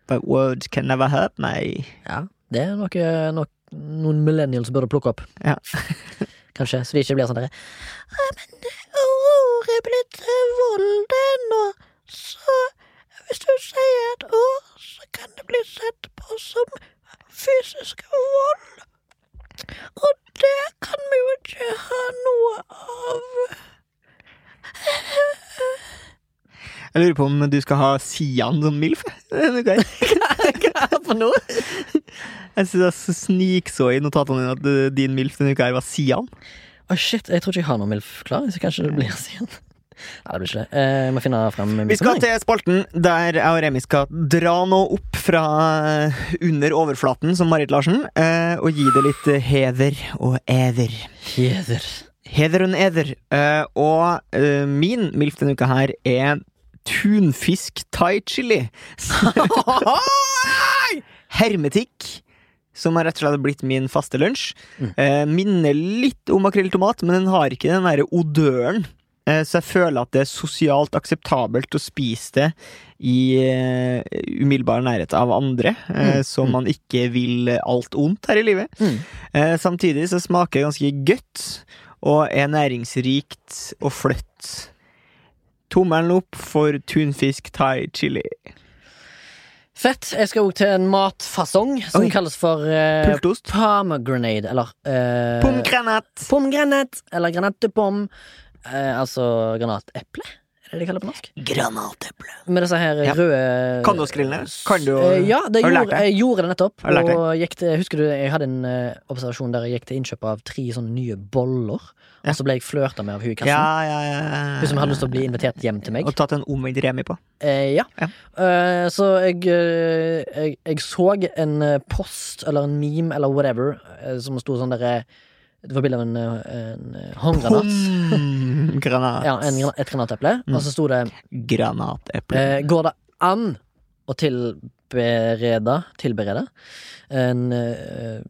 [SPEAKER 3] But words can never hurt me.
[SPEAKER 2] Ja. Det er noe, nok- noen millennials burde plukke opp.
[SPEAKER 3] Ja.
[SPEAKER 2] Kanskje, så de ikke blir sånn derre «Nei, Men det ord er blitt til vold ennå, så hvis du sier et ord, så kan det bli sett på som fysisk vold. Og det kan vi jo ikke ha noe av.
[SPEAKER 3] Jeg lurer på om du skal ha Sian som MILF? Denne uka her.
[SPEAKER 2] For nå?
[SPEAKER 3] Jeg synes jeg så snikså i notatene dine at eh, din MILF denne uka her var Sian.
[SPEAKER 2] Å shit, Jeg tror ikke jeg har noe mild forklaring, så kanskje det blir sent. Nei, det blir ikke det. Eh, Jeg må finne frem
[SPEAKER 3] Vi skal
[SPEAKER 2] mikrofonen.
[SPEAKER 3] til spalten der jeg og Remi skal dra noe opp fra eh, under overflaten, som Marit Larsen, eh, og gi det litt eh, heder og ever.
[SPEAKER 2] Heder.
[SPEAKER 3] Heder og eder. Eh, og eh, min MILF denne uka her er tunfisk thai chili. Hermetikk. Som har rett og slett blitt min faste lunsj. Eh, minner litt om makrelltomat, men den har ikke den derre odøren. Eh, så jeg føler at det er sosialt akseptabelt å spise det i eh, umiddelbar nærhet av andre, eh, så man ikke vil alt ondt her i livet.
[SPEAKER 2] Mm.
[SPEAKER 3] Eh, samtidig så smaker det ganske godt, og er næringsrikt og fløtt. Tommelen opp for tunfisk thai chili.
[SPEAKER 2] Fett. Jeg skal òg til en matfasong som
[SPEAKER 3] Oi.
[SPEAKER 2] kalles for eh,
[SPEAKER 3] Pultost.
[SPEAKER 2] pomegranate, eller eh,
[SPEAKER 3] Pomgranat!
[SPEAKER 2] Pomgranat, eller granatepom. Eh, altså granateple, er det de kaller det på norsk?
[SPEAKER 3] Granateple.
[SPEAKER 2] Med disse her
[SPEAKER 3] Ja.
[SPEAKER 2] røde
[SPEAKER 3] Kan du å skrille ned? Kan du å-
[SPEAKER 2] Eh, Ja, det
[SPEAKER 3] Har du lært
[SPEAKER 2] gjorde,
[SPEAKER 3] deg?
[SPEAKER 2] jeg gjorde det nettopp.
[SPEAKER 3] Har du lært deg?
[SPEAKER 2] Og gikk til, husker du, jeg hadde en eh, observasjon der jeg gikk til innkjøp av tre sånne nye boller.
[SPEAKER 3] Ja.
[SPEAKER 2] Og så ble jeg flørta med av hun i kassen.
[SPEAKER 3] Ja, ja, ja.
[SPEAKER 2] Hun som hadde lyst til å bli invitert hjem til meg.
[SPEAKER 3] Og tatt en omvendt remi på.
[SPEAKER 2] Eh, ja.
[SPEAKER 3] Ja.
[SPEAKER 2] Eh, så jeg, eh, jeg Jeg så en eh, post eller en meme eller whatever eh, som sto sånn derre Det var bilde av en, eh, en eh, håndgranat.
[SPEAKER 3] Pomgranat.
[SPEAKER 2] Ja, en, gran- et granateple.
[SPEAKER 3] Mm.
[SPEAKER 2] Og så sto det
[SPEAKER 3] Granateple.
[SPEAKER 2] eh, Går det an å tilberede Tilberede en, eh,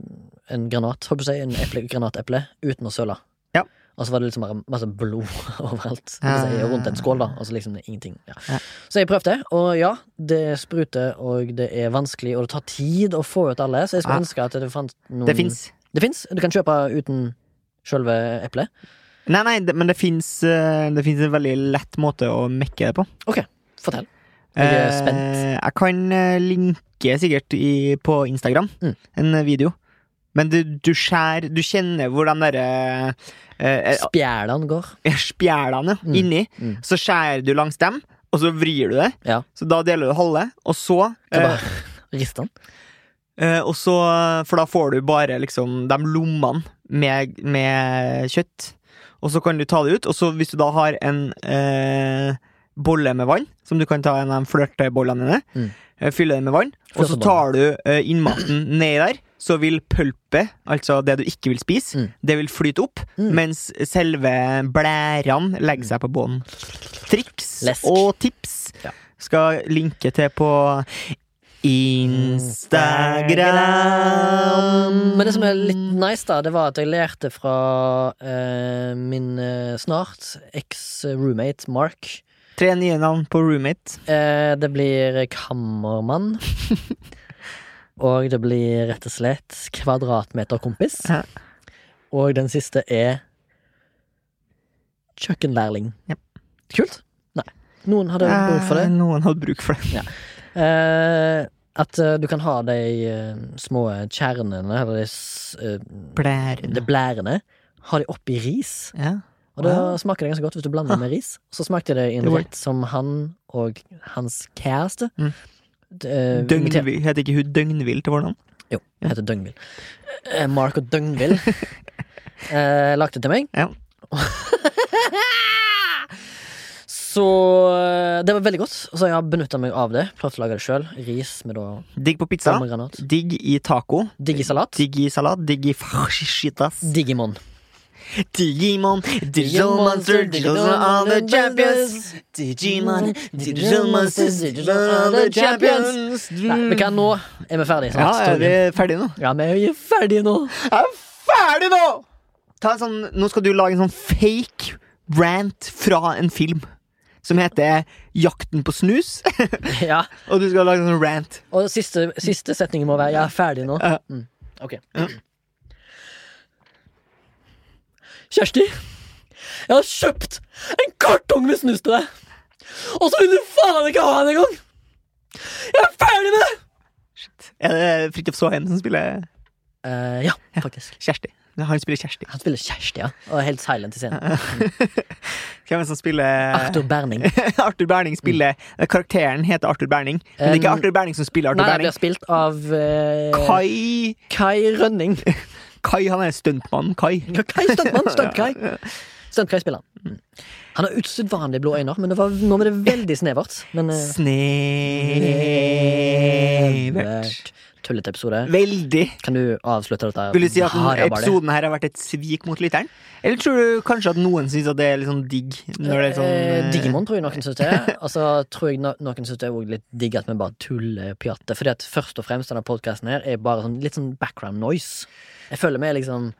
[SPEAKER 2] en granat, holdt på å si, en eple, granateple, uten å søle?
[SPEAKER 3] Ja.
[SPEAKER 2] Og så var det liksom bare masse blod overalt. holdt på å Si, rundt en skål, da. Og så liksom ingenting. Ja.
[SPEAKER 3] Ja.
[SPEAKER 2] Så jeg prøvde, og ja, det spruter, og det er vanskelig, og det tar tid å få ut alle. Så jeg skulle
[SPEAKER 3] Ja.
[SPEAKER 2] ønske at det fantes noen
[SPEAKER 3] Det fins.
[SPEAKER 2] Det fins. Du kan kjøpe uten sjølve eplet.
[SPEAKER 3] Nei, nei, det, men det fins en veldig lett måte å mekke det på.
[SPEAKER 2] OK, fortell. Jeg er
[SPEAKER 3] Eh,
[SPEAKER 2] spent.
[SPEAKER 3] Jeg kan eh, linke sikkert i, på Instagram
[SPEAKER 2] Mm.
[SPEAKER 3] en eh, video. Men du, du skjærer Du kjenner hvor de derre eh, eh,
[SPEAKER 2] Spjælene går.
[SPEAKER 3] spjælene
[SPEAKER 2] Mm.
[SPEAKER 3] inni.
[SPEAKER 2] Mm.
[SPEAKER 3] Så skjærer du langs dem, og så vrir du det.
[SPEAKER 2] Ja.
[SPEAKER 3] Så da deler du halve, og så
[SPEAKER 2] Så
[SPEAKER 3] eh,
[SPEAKER 2] bare rister den.
[SPEAKER 3] Eh, og så, for da får du bare liksom de lommene med, med kjøtt. Og så kan du ta det ut. Og så hvis du da har en eh, bolle med vann, som du kan ta en av de flørtebollene dine,
[SPEAKER 2] Mm.
[SPEAKER 3] eh, fylle den med vann, og så
[SPEAKER 2] Flørtebolle.
[SPEAKER 3] tar du eh, innmaten nedi der, så vil pulpet, altså det du ikke vil spise,
[SPEAKER 2] Mm.
[SPEAKER 3] det vil flyte opp,
[SPEAKER 2] Mm.
[SPEAKER 3] mens selve blærene legger seg på bånn. Triks
[SPEAKER 2] Lesk.
[SPEAKER 3] og tips
[SPEAKER 2] Ja.
[SPEAKER 3] skal linke til på
[SPEAKER 2] Mm.
[SPEAKER 3] Instagram.
[SPEAKER 2] Men det som er litt nice, da, det var at jeg lærte fra eh, min eh, snart eks-roommate Mark.
[SPEAKER 3] Tre nye navn på roommate.
[SPEAKER 2] Eh, det blir kammermann. og det blir rett og slett kvadratmeterkompis.
[SPEAKER 3] Ja.
[SPEAKER 2] Og den siste er kjøkkenlærling.
[SPEAKER 3] Jep.
[SPEAKER 2] Kult? Nei. Noen hadde behov for det.
[SPEAKER 3] Eh, Noen hadde bruk for det.
[SPEAKER 2] Eh, at eh, du kan ha de eh, små kjernene, eller de s- eh, de
[SPEAKER 3] Blærene.
[SPEAKER 2] blærene, ha de oppi ris.
[SPEAKER 3] Ja.
[SPEAKER 2] Og da
[SPEAKER 3] Wow.
[SPEAKER 2] smaker det ganske godt hvis du blander med ris. Så smakte det i en
[SPEAKER 3] Det var-
[SPEAKER 2] rett som han og hans kjæreste
[SPEAKER 3] Mm.
[SPEAKER 2] d- eh, inviterte-
[SPEAKER 3] Døgnvill. Heter ikke hun Døgnvill til vårt navn?
[SPEAKER 2] Jo, hun heter Døgnvill. Eh, Mark og Døgnvill eh, lagde til meg.
[SPEAKER 3] Ja.
[SPEAKER 2] Så eh, det var veldig godt. Så jeg har benytta meg av det. Prøvd å lage det sjøl. Ris med da
[SPEAKER 3] Digg på pizza.
[SPEAKER 2] pommegranat.
[SPEAKER 3] Digg i taco.
[SPEAKER 2] Digg i salat.
[SPEAKER 3] Digg i salat. Digg i fascitas.
[SPEAKER 2] Digimon.
[SPEAKER 3] Digimon, digital monster, digital all the champions. Digimon, digital monsters, digital all the champions.
[SPEAKER 2] Nei, men hva nå? Er vi ferdige?
[SPEAKER 3] Mm. Ja,
[SPEAKER 2] snart?
[SPEAKER 3] er vi ferdige nå?
[SPEAKER 2] ja, vi er jo ferdige nå.
[SPEAKER 3] Jeg er ferdig nå! Ta en sånn, nå skal du lage en sånn fake rant fra en film som heter Jakten på snus.
[SPEAKER 2] Ja.
[SPEAKER 3] og du skal lage en sånn rant.
[SPEAKER 2] Og siste, siste setningen må være 'jeg er ferdig nå'.
[SPEAKER 3] Ja.
[SPEAKER 2] Mm. Ok. Kjersti, jeg har kjøpt en kartong med snus til deg. Og så vil du faen ikke ha den engang! Jeg er ferdig med det!
[SPEAKER 3] Er det Fridtjof Saaheim som spiller
[SPEAKER 2] Eh, ja, faktisk.
[SPEAKER 3] Kjersti? Nei, Han spiller Kjersti.
[SPEAKER 2] Han spiller Kjersti, ja. Og er helt silent i scenen.
[SPEAKER 3] Hvem er det som spiller
[SPEAKER 2] Arthur Berning.
[SPEAKER 3] Arthur Berning spiller Karakteren heter Arthur Berning, men det er ikke
[SPEAKER 2] Um,
[SPEAKER 3] Arthur Berning som spiller
[SPEAKER 2] Nei,
[SPEAKER 3] Arthur
[SPEAKER 2] han blir
[SPEAKER 3] Berning.
[SPEAKER 2] spilt av eh,
[SPEAKER 3] Kai
[SPEAKER 2] Kai Rønning.
[SPEAKER 3] Kai, han er stuntmannen Kai.
[SPEAKER 2] Ja, Kai Stuntmann. Stunt-Kai. Stunt-Kai spiller han. Han har usedvanlig blå øyne, men det var, nå var det veldig snevert. Men eh,
[SPEAKER 3] Snevert.
[SPEAKER 2] snevert. Tullete episode.
[SPEAKER 3] Veldig.
[SPEAKER 2] Kan du avslutte dette?
[SPEAKER 3] Vil du si at denne
[SPEAKER 2] haraballet?
[SPEAKER 3] episoden her har vært et svik mot lytteren? Eller tror du kanskje at noen syns at det er litt sånn digg? Når det er sånn
[SPEAKER 2] eh,
[SPEAKER 3] eh,
[SPEAKER 2] Digimon tror jeg noen syns det. er. Og så tror jeg no noen syns det er også litt digg at vi bare tuller og pjatter. Fordi at først og fremst denne podkasten her er bare sånn, litt sånn background noise. Jeg føler vi er liksom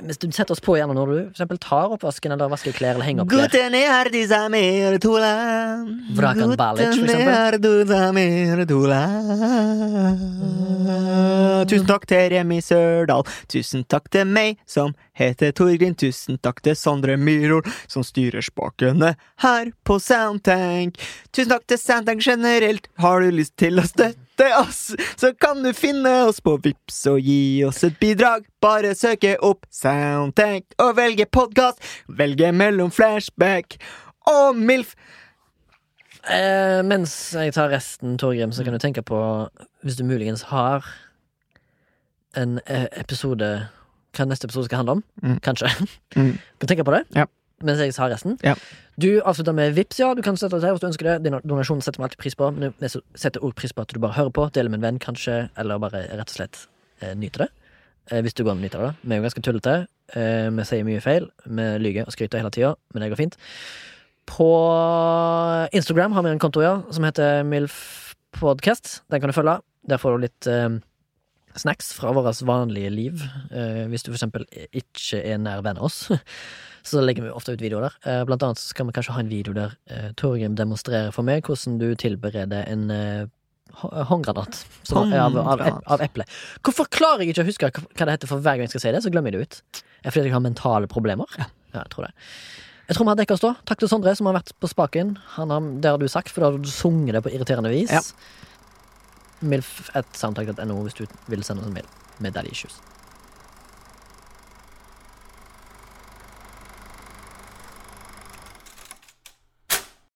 [SPEAKER 2] Hvis du setter oss på gjerne når du for eksempel tar oppvasken eller vasker klær eller henger opp klær.
[SPEAKER 3] Gutten er de som er to land.
[SPEAKER 2] Vrakan Balic, for
[SPEAKER 3] Gutten er du som er to land. Tusen takk til Remi Sørdal. Tusen takk til meg som heter Torgrim. Tusen takk til Sondre Myhrol, som styrer spakene her på Soundtank. Tusen takk til Soundtank generelt. Har du lyst til å støtte oss, så kan du finne oss på Vips og gi oss et bidrag. Bare søke opp Soundtank og velge podkast. Velge mellom flashback og MILF.
[SPEAKER 2] Eh, mens jeg tar resten, Torgrim,
[SPEAKER 3] Mm.
[SPEAKER 2] så kan du tenke på Hvis du muligens har en eh, episode Hva neste episode skal handle om?
[SPEAKER 3] Mm.
[SPEAKER 2] Kanskje.
[SPEAKER 3] Mm.
[SPEAKER 2] Du kan tenke på det
[SPEAKER 3] Ja.
[SPEAKER 2] mens jeg tar resten.
[SPEAKER 3] Ja.
[SPEAKER 2] Du avslutter med Vips, ja. Du kan støtte oss her hvis du ønsker det. Din donasjon setter vi alltid pris på. Men jeg setter også pris på at du bare hører på, deler med en venn kanskje, eller bare rett og slett eh, nyter det. Eh, hvis du går an å nyte det, da. Vi er jo ganske tullete. Eh, vi sier mye feil. Vi lyver og skryter hele tida, men det går fint. På Instagram har vi en konto, ja, som heter MILFpodcast. Den kan du følge. Der får du litt eh, snacks fra vårt vanlige liv. Eh, hvis du for eksempel ikke er nær venn av oss, så legger vi ofte ut videoer der. Eh, blant annet så skal vi kanskje ha en video der eh, Torgrim demonstrerer for meg hvordan du tilbereder en eh, hå- håndgranat som er av, av,
[SPEAKER 3] Håndgranat.
[SPEAKER 2] av eple. Hvorfor klarer jeg ikke å huske hva hva det heter for hver gang jeg skal si det, så glemmer jeg det ut. Er det fordi jeg har mentale problemer? Ja, jeg tror det. Jeg tror vi har dekket oss da. Takk til Sondre, som har vært på spaken. Han har, det har du sagt, for da har du sunget det på irriterende vis.
[SPEAKER 3] Ja.
[SPEAKER 2] Milf1soundtrack.no hvis du vil sende oss en mail med daddy issues.